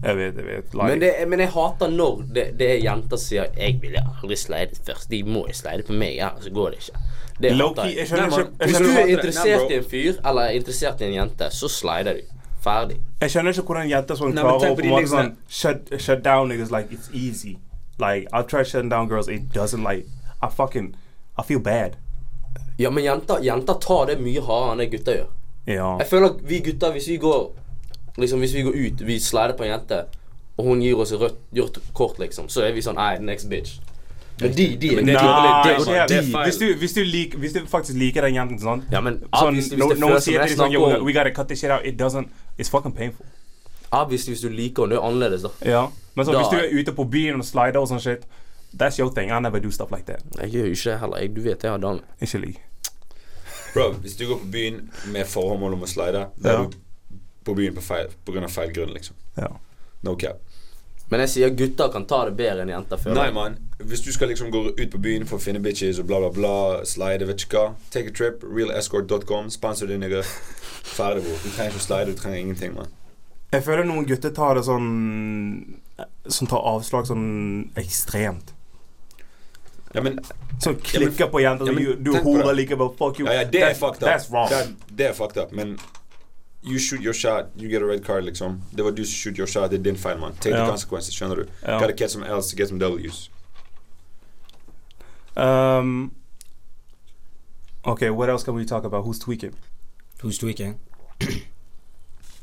Speaker 1: Jeg vet, jeg vet. Like,
Speaker 4: Men, det, men jeg hater når det, det er jenter som sier 'Jeg ville aldri slidet først'. De må jo slide på meg, ellers så går det ikke. Det hater
Speaker 1: Low-key,
Speaker 4: jeg.
Speaker 1: jeg skjønner
Speaker 3: Nei,
Speaker 1: ikke,
Speaker 3: man,
Speaker 1: jeg
Speaker 4: Hvis
Speaker 1: skjønner,
Speaker 4: du er
Speaker 1: ikke-
Speaker 4: interessert
Speaker 3: Nei,
Speaker 4: i en fyr, eller er interessert i en jente, så slider du. Ferdig.
Speaker 1: jeg skjønner ikke hvordan jenter som
Speaker 3: Nei, men
Speaker 1: klarer
Speaker 3: tenk
Speaker 1: å
Speaker 3: på
Speaker 1: på en
Speaker 3: de
Speaker 1: måte
Speaker 3: niggasene.
Speaker 1: sånn shut, shut down niggas like it's easy. Like, I've tried shutting down girls, it doesn't like I fucking I feel bad.
Speaker 4: Ja, men jenter, jenter tar det mye hardere enn det gutter gjør.
Speaker 1: Ja.
Speaker 4: Jeg føler at vi gutter, hvis vi går Liksom hvis vi går ut, vi slider på en jente, og hun gir oss et rødt, rødt kort, liksom, så er vi sånn Nei, next bitch. Men de, de er
Speaker 1: Nei,
Speaker 4: dårlige.
Speaker 1: det er-
Speaker 4: de,
Speaker 3: det er feil.
Speaker 1: hvis, du, hvis, du lik, hvis du faktisk liker den jenten sånn
Speaker 4: Ja, men
Speaker 1: Sånn,
Speaker 4: obviously, hvis
Speaker 1: no,
Speaker 4: det
Speaker 1: no one
Speaker 4: føles som
Speaker 1: sier
Speaker 4: jeg
Speaker 1: det liksom,
Speaker 4: snakker
Speaker 1: yo,
Speaker 4: om
Speaker 1: we gotta cut this shit out. It doesn't, it's fucking painful.
Speaker 4: Obviously, hvis du liker henne, det er annerledes, da.
Speaker 1: Ja. Men så,
Speaker 4: Da-
Speaker 1: hvis du er ute på byen og slider og sånn shit, that's your thing. I never do stuff like that.
Speaker 4: Jeg gjør jo ikke det heller. Jeg, du vet jeg har dame.
Speaker 1: Ikke lyv.
Speaker 3: Bro, hvis du går på byen med formål om å slide, da
Speaker 1: Ja.
Speaker 3: er du på byen på, feil, på grunn av feil grunn, liksom.
Speaker 1: Ja.
Speaker 3: No cap.
Speaker 4: Men jeg sier gutter kan ta det bedre enn jenter før.
Speaker 3: Nei, mann. Hvis du skal liksom gå ut på byen for å finne bitches og bla, bla, bla, slide, vet ikke hva Take a trip, realescort.com, sponsor din nigga. Ferdig, bro. Du trenger ikke å slide, du trenger ingenting, mann.
Speaker 1: Jeg føler noen gutter tar det sånn Som tar avslag sånn ekstremt.
Speaker 3: Ja, men
Speaker 1: Som klikker på jenter.
Speaker 3: ja, men
Speaker 1: du du
Speaker 3: tenk på det.
Speaker 1: hore likevel. Fuck you.
Speaker 3: ja, ja, det er
Speaker 1: That's-
Speaker 3: fucked up.
Speaker 1: That's wrong.
Speaker 3: Det, det er fucked up, men You shoot your shot, you get a red card, liksom. Det var du som shoot your shot, det er din feil, mann. Take
Speaker 1: Ja.
Speaker 3: the consequences, skjønner du.
Speaker 1: Ja.
Speaker 3: Gotta get some L's to get some W's.
Speaker 1: Um, okay, what else can we talk about? Who's tweaking?
Speaker 2: Who's tweaking?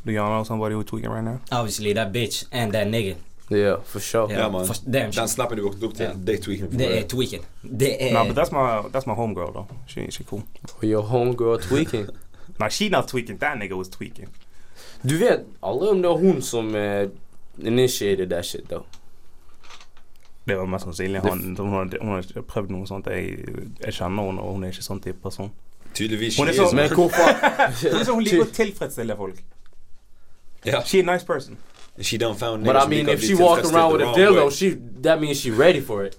Speaker 1: Do y'all know somebody who's tweaking right now?
Speaker 2: Obviously that bitch and that nigga.
Speaker 4: Yeah, for sure.
Speaker 3: Ja, man.
Speaker 2: For, damn
Speaker 3: Den
Speaker 2: shit.
Speaker 3: snappen du våknet opp til,
Speaker 2: Ja.
Speaker 3: det er tweaking.
Speaker 2: Det er tweaking. Det er
Speaker 1: Nah, but that's my that's my homegirl though. She she cool.
Speaker 4: Your homegirl tweaking.
Speaker 1: Nah, she not tweaking. That nigga was tweaking.
Speaker 4: Du vet aldri om det er hun som eh, initiated that shit, though.
Speaker 1: Det var mest sannsynlig
Speaker 4: Det-
Speaker 1: han. Hun har, hun har ikke prøvd noe sånt. Jeg, jeg kjenner henne, og hun er ikke sånn type person.
Speaker 3: Tydeligvis
Speaker 1: Hun er
Speaker 3: she is,
Speaker 1: så-
Speaker 4: Men hvorfor
Speaker 1: sånn Hun liker å tilfredsstille folk.
Speaker 3: Ja.
Speaker 1: She a nice person.
Speaker 3: She done found
Speaker 4: But
Speaker 3: niggas
Speaker 4: I
Speaker 3: who
Speaker 4: mean,
Speaker 3: can
Speaker 4: if
Speaker 3: be
Speaker 4: she walk
Speaker 3: tilfredsstilt
Speaker 4: around
Speaker 3: the
Speaker 4: with a
Speaker 3: wrong
Speaker 4: dildo,
Speaker 3: way.
Speaker 4: she that means she ready for it.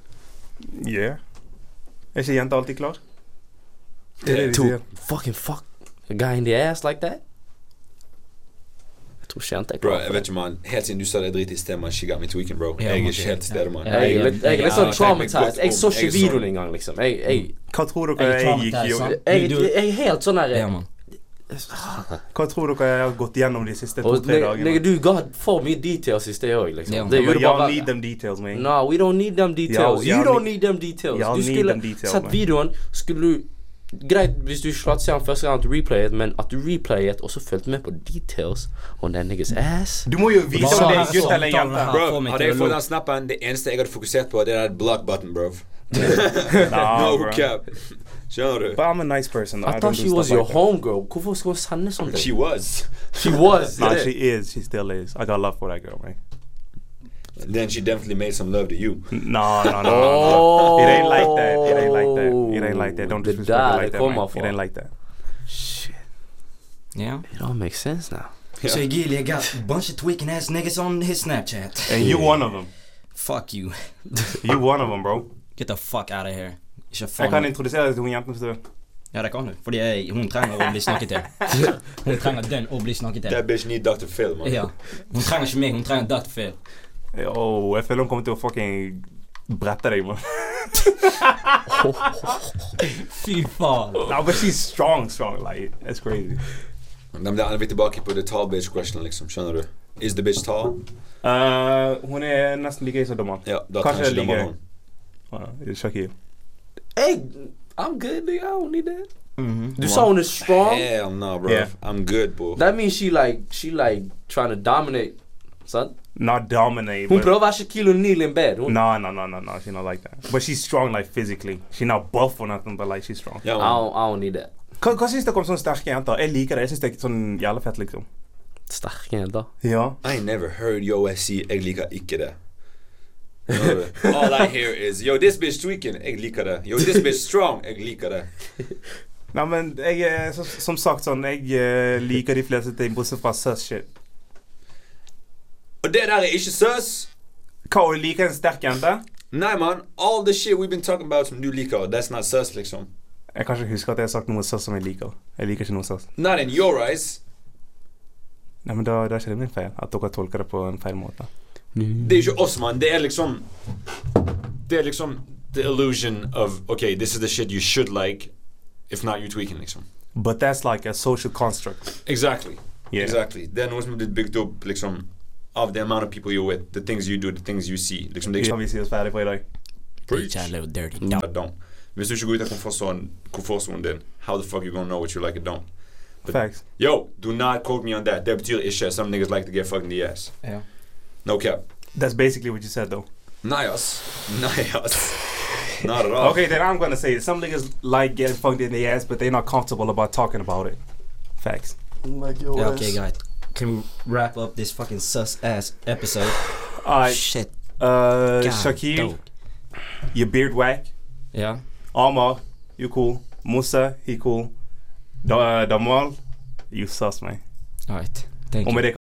Speaker 1: Yeah. Er ikke jenter alltid klar? Det er det de
Speaker 4: To
Speaker 1: sier.
Speaker 4: fucking fuck a guy in the ass like that? Jeg tror ikke jenter er
Speaker 3: Bro,
Speaker 4: klar
Speaker 3: jeg
Speaker 4: for
Speaker 3: vet
Speaker 4: det.
Speaker 3: ikke, man. Helt siden du sa det drit i sted, man. She got me tweaking, bro.
Speaker 2: Ja,
Speaker 3: Jeg er
Speaker 2: man,
Speaker 3: ikke helt til stede, man.
Speaker 4: Jeg er litt- jeg er litt
Speaker 3: Jeg har tenkt
Speaker 4: sånn
Speaker 3: meg
Speaker 4: traumatized.
Speaker 3: godt
Speaker 4: Jeg så
Speaker 3: om.
Speaker 4: ikke
Speaker 3: er sånn-
Speaker 4: videoen engang, liksom. Jeg, jeg,
Speaker 1: Hva tror
Speaker 2: Jeg
Speaker 1: dere
Speaker 2: er
Speaker 1: jeg, gikk
Speaker 2: traumatized,
Speaker 1: gjennom?
Speaker 2: sant?
Speaker 4: jeg,
Speaker 2: Du-
Speaker 4: jeg er helt sånn
Speaker 2: Ja,
Speaker 4: her
Speaker 2: man.
Speaker 1: Hva tror dere jeg har gått gjennom de siste
Speaker 4: Og
Speaker 1: to-tre
Speaker 4: nigga, nigga,
Speaker 1: dagene?
Speaker 4: du ga for mye details i sted òg, liksom.
Speaker 2: Ja.
Speaker 4: Det gjorde
Speaker 1: Y'all
Speaker 4: bare
Speaker 1: need them eh. details, man.
Speaker 4: No, we don't need them details.
Speaker 1: Ja, ja,
Speaker 4: you don't
Speaker 1: ni-
Speaker 4: need them details.
Speaker 1: ja,
Speaker 4: du
Speaker 1: need
Speaker 4: skulle
Speaker 1: them details,
Speaker 4: sett
Speaker 1: man.
Speaker 4: videoen, skulle du Greit hvis du slapp se den første gang at du replayet, men at du replayet og så fulgte med på details on that niggas ass.
Speaker 1: Du må jo vite om
Speaker 2: Hva
Speaker 1: det er
Speaker 2: sa
Speaker 1: en gutt eller en
Speaker 2: samtalen
Speaker 1: jente.
Speaker 2: her?
Speaker 3: Bro,
Speaker 2: Få meg
Speaker 3: hadde
Speaker 2: til
Speaker 3: jeg
Speaker 2: å
Speaker 3: fått
Speaker 2: lo.
Speaker 3: den snappen, det eneste jeg hadde fokusert på, det er den block button, bro.
Speaker 1: Nah,
Speaker 3: No
Speaker 1: bro.
Speaker 3: cap. Skjønner du?
Speaker 1: But I'm a nice person.
Speaker 4: I thought she was your homegirl. Hvorfor skal hun sende sånt?
Speaker 3: She was.
Speaker 4: She was. eh.
Speaker 1: Nah,
Speaker 4: det.
Speaker 1: she is. She still is. I got love for that girl, man.
Speaker 3: Then she definitely made some love to you.
Speaker 1: No, no, no, no. It ain't like that. It ain't like that. It ain't like that. Don't
Speaker 4: Det
Speaker 1: disrespect her
Speaker 4: der
Speaker 1: like
Speaker 4: det
Speaker 1: that,
Speaker 4: kommer
Speaker 1: man.
Speaker 4: fra.
Speaker 1: It ain't like that.
Speaker 4: Shit.
Speaker 2: Yeah.
Speaker 4: It all makes sense now.
Speaker 3: Yeah.
Speaker 2: So Gilia got a bunch of tweaking ass niggas on his Snapchat.
Speaker 1: And you one of them.
Speaker 2: Fuck you.
Speaker 1: You one of them, bro.
Speaker 2: Get the fuck out of here. Ikke
Speaker 1: Jeg kan
Speaker 2: faen.
Speaker 1: introdusere deg til hun jenten. hvis du vil.
Speaker 2: Ja, det kan du. Fordi jeg, hun trenger å bli snakket til. Hun trenger den Oh, å bli snakket til.
Speaker 3: That bitch need Dr. Phil, man.
Speaker 2: Ja. Hun trenger ikke meg, hun trenger Dr. Phil.
Speaker 1: Åh, jeg føler hun kommer til å fucking brette deg, man.
Speaker 2: Fy faen.
Speaker 1: No, but she's strong, strong. Like, that's crazy.
Speaker 3: Men da er vi tilbake på the tall bitch question, liksom. Skjønner du? Is the bitch tall?
Speaker 1: Eh, hun er nesten like gøy som dommeren.
Speaker 3: Ja, da
Speaker 1: Kanskje
Speaker 3: trenger ikke
Speaker 1: jeg
Speaker 3: dommer
Speaker 1: liker-
Speaker 3: noen.
Speaker 1: Uh, Shakir.
Speaker 4: Hey, I'm good, nigga. I don't need that.
Speaker 2: Mhm.
Speaker 1: Mm-hmm.
Speaker 4: Du sa hun er strong.
Speaker 3: Hell no, bro.
Speaker 1: Yeah.
Speaker 3: I'm good, bro.
Speaker 4: That means she like, she like trying to dominate. Sant?
Speaker 1: Not dominate.
Speaker 4: Hun
Speaker 1: but-
Speaker 4: prøver å være Shaquille O'Neal in bed. Hun,
Speaker 1: No, no, no, no, no. She not like that. But she's strong, like physically. She not buff or nothing, but like she's strong.
Speaker 3: Ja,
Speaker 4: I,
Speaker 3: man.
Speaker 4: don't, I don't need that.
Speaker 1: Hva, hva syns dere om sånne sterke jenter? Jeg liker det. Jeg syns det er sånn jævla fett, liksom.
Speaker 4: Sterke jenter.
Speaker 1: Ja.
Speaker 3: I ain't never heard yo ass si Jeg liker ikke det. Skjønner du? All I hear is Yo, this bitch tweaking. Jeg liker det. Yo, this bitch strong. Jeg liker det.
Speaker 1: Nei, men jeg er så, som sagt sånn Jeg eh, liker de fleste ting, bortsett fra sus shit.
Speaker 3: Og det der er ikke søs.
Speaker 1: Hva, å like en sterk jente?
Speaker 3: Nei, man. All the shit we've been talking about som du liker, oh, that's not søs, liksom.
Speaker 1: Jeg kan ikke huske at jeg har sagt noe sus som jeg liker. Jeg liker ikke noe sus.
Speaker 3: Not in your eyes.
Speaker 1: Nei, men da, da er ikke det min feil at dere tolker det på en feil måte.
Speaker 3: Det er ikke oss, man. Det er liksom Det er liksom the illusion of OK, this is the shit you should like. If not, you're tweaking, liksom.
Speaker 1: But that's like a social construct.
Speaker 3: Exactly.
Speaker 1: Yeah.
Speaker 3: Exactly. Det er noe som er blitt bygd opp, liksom, av the amount of people you're with, the things you do, the things you see. Liksom, det er ikke
Speaker 1: Kan vi si oss ferdig for i dag?
Speaker 3: Preach.
Speaker 2: Bitch, I little dirty.
Speaker 3: I don't. Hvis du ikke går ut av komfortsonen komfortsonen din, how the fuck you gonna know what you like or don't?
Speaker 1: Facts.
Speaker 3: Yo, do not quote me on that. Det betyr ikke some niggas like to get fucked in the ass.
Speaker 2: Ja.
Speaker 3: No cap.
Speaker 1: That's basically what you said, though.
Speaker 3: Nei, ass. Nei, ass. Not at all.
Speaker 1: Okay, then I'm gonna say some niggas like getting fucked in the ass, but they're not comfortable about talking about it. Facts.
Speaker 2: Ja, ok, greit. Can we wrap up this fucking sus ass episode?
Speaker 1: Alright,
Speaker 2: Shit.
Speaker 1: uh,
Speaker 2: God,
Speaker 1: Shaquille,
Speaker 2: dope.
Speaker 1: your beard whack.
Speaker 2: Ja.
Speaker 1: Amar, you cool. Musa, he cool. Da, uh, Damal, you sus, man.
Speaker 2: All right. Thank
Speaker 1: Og
Speaker 2: you.
Speaker 1: med det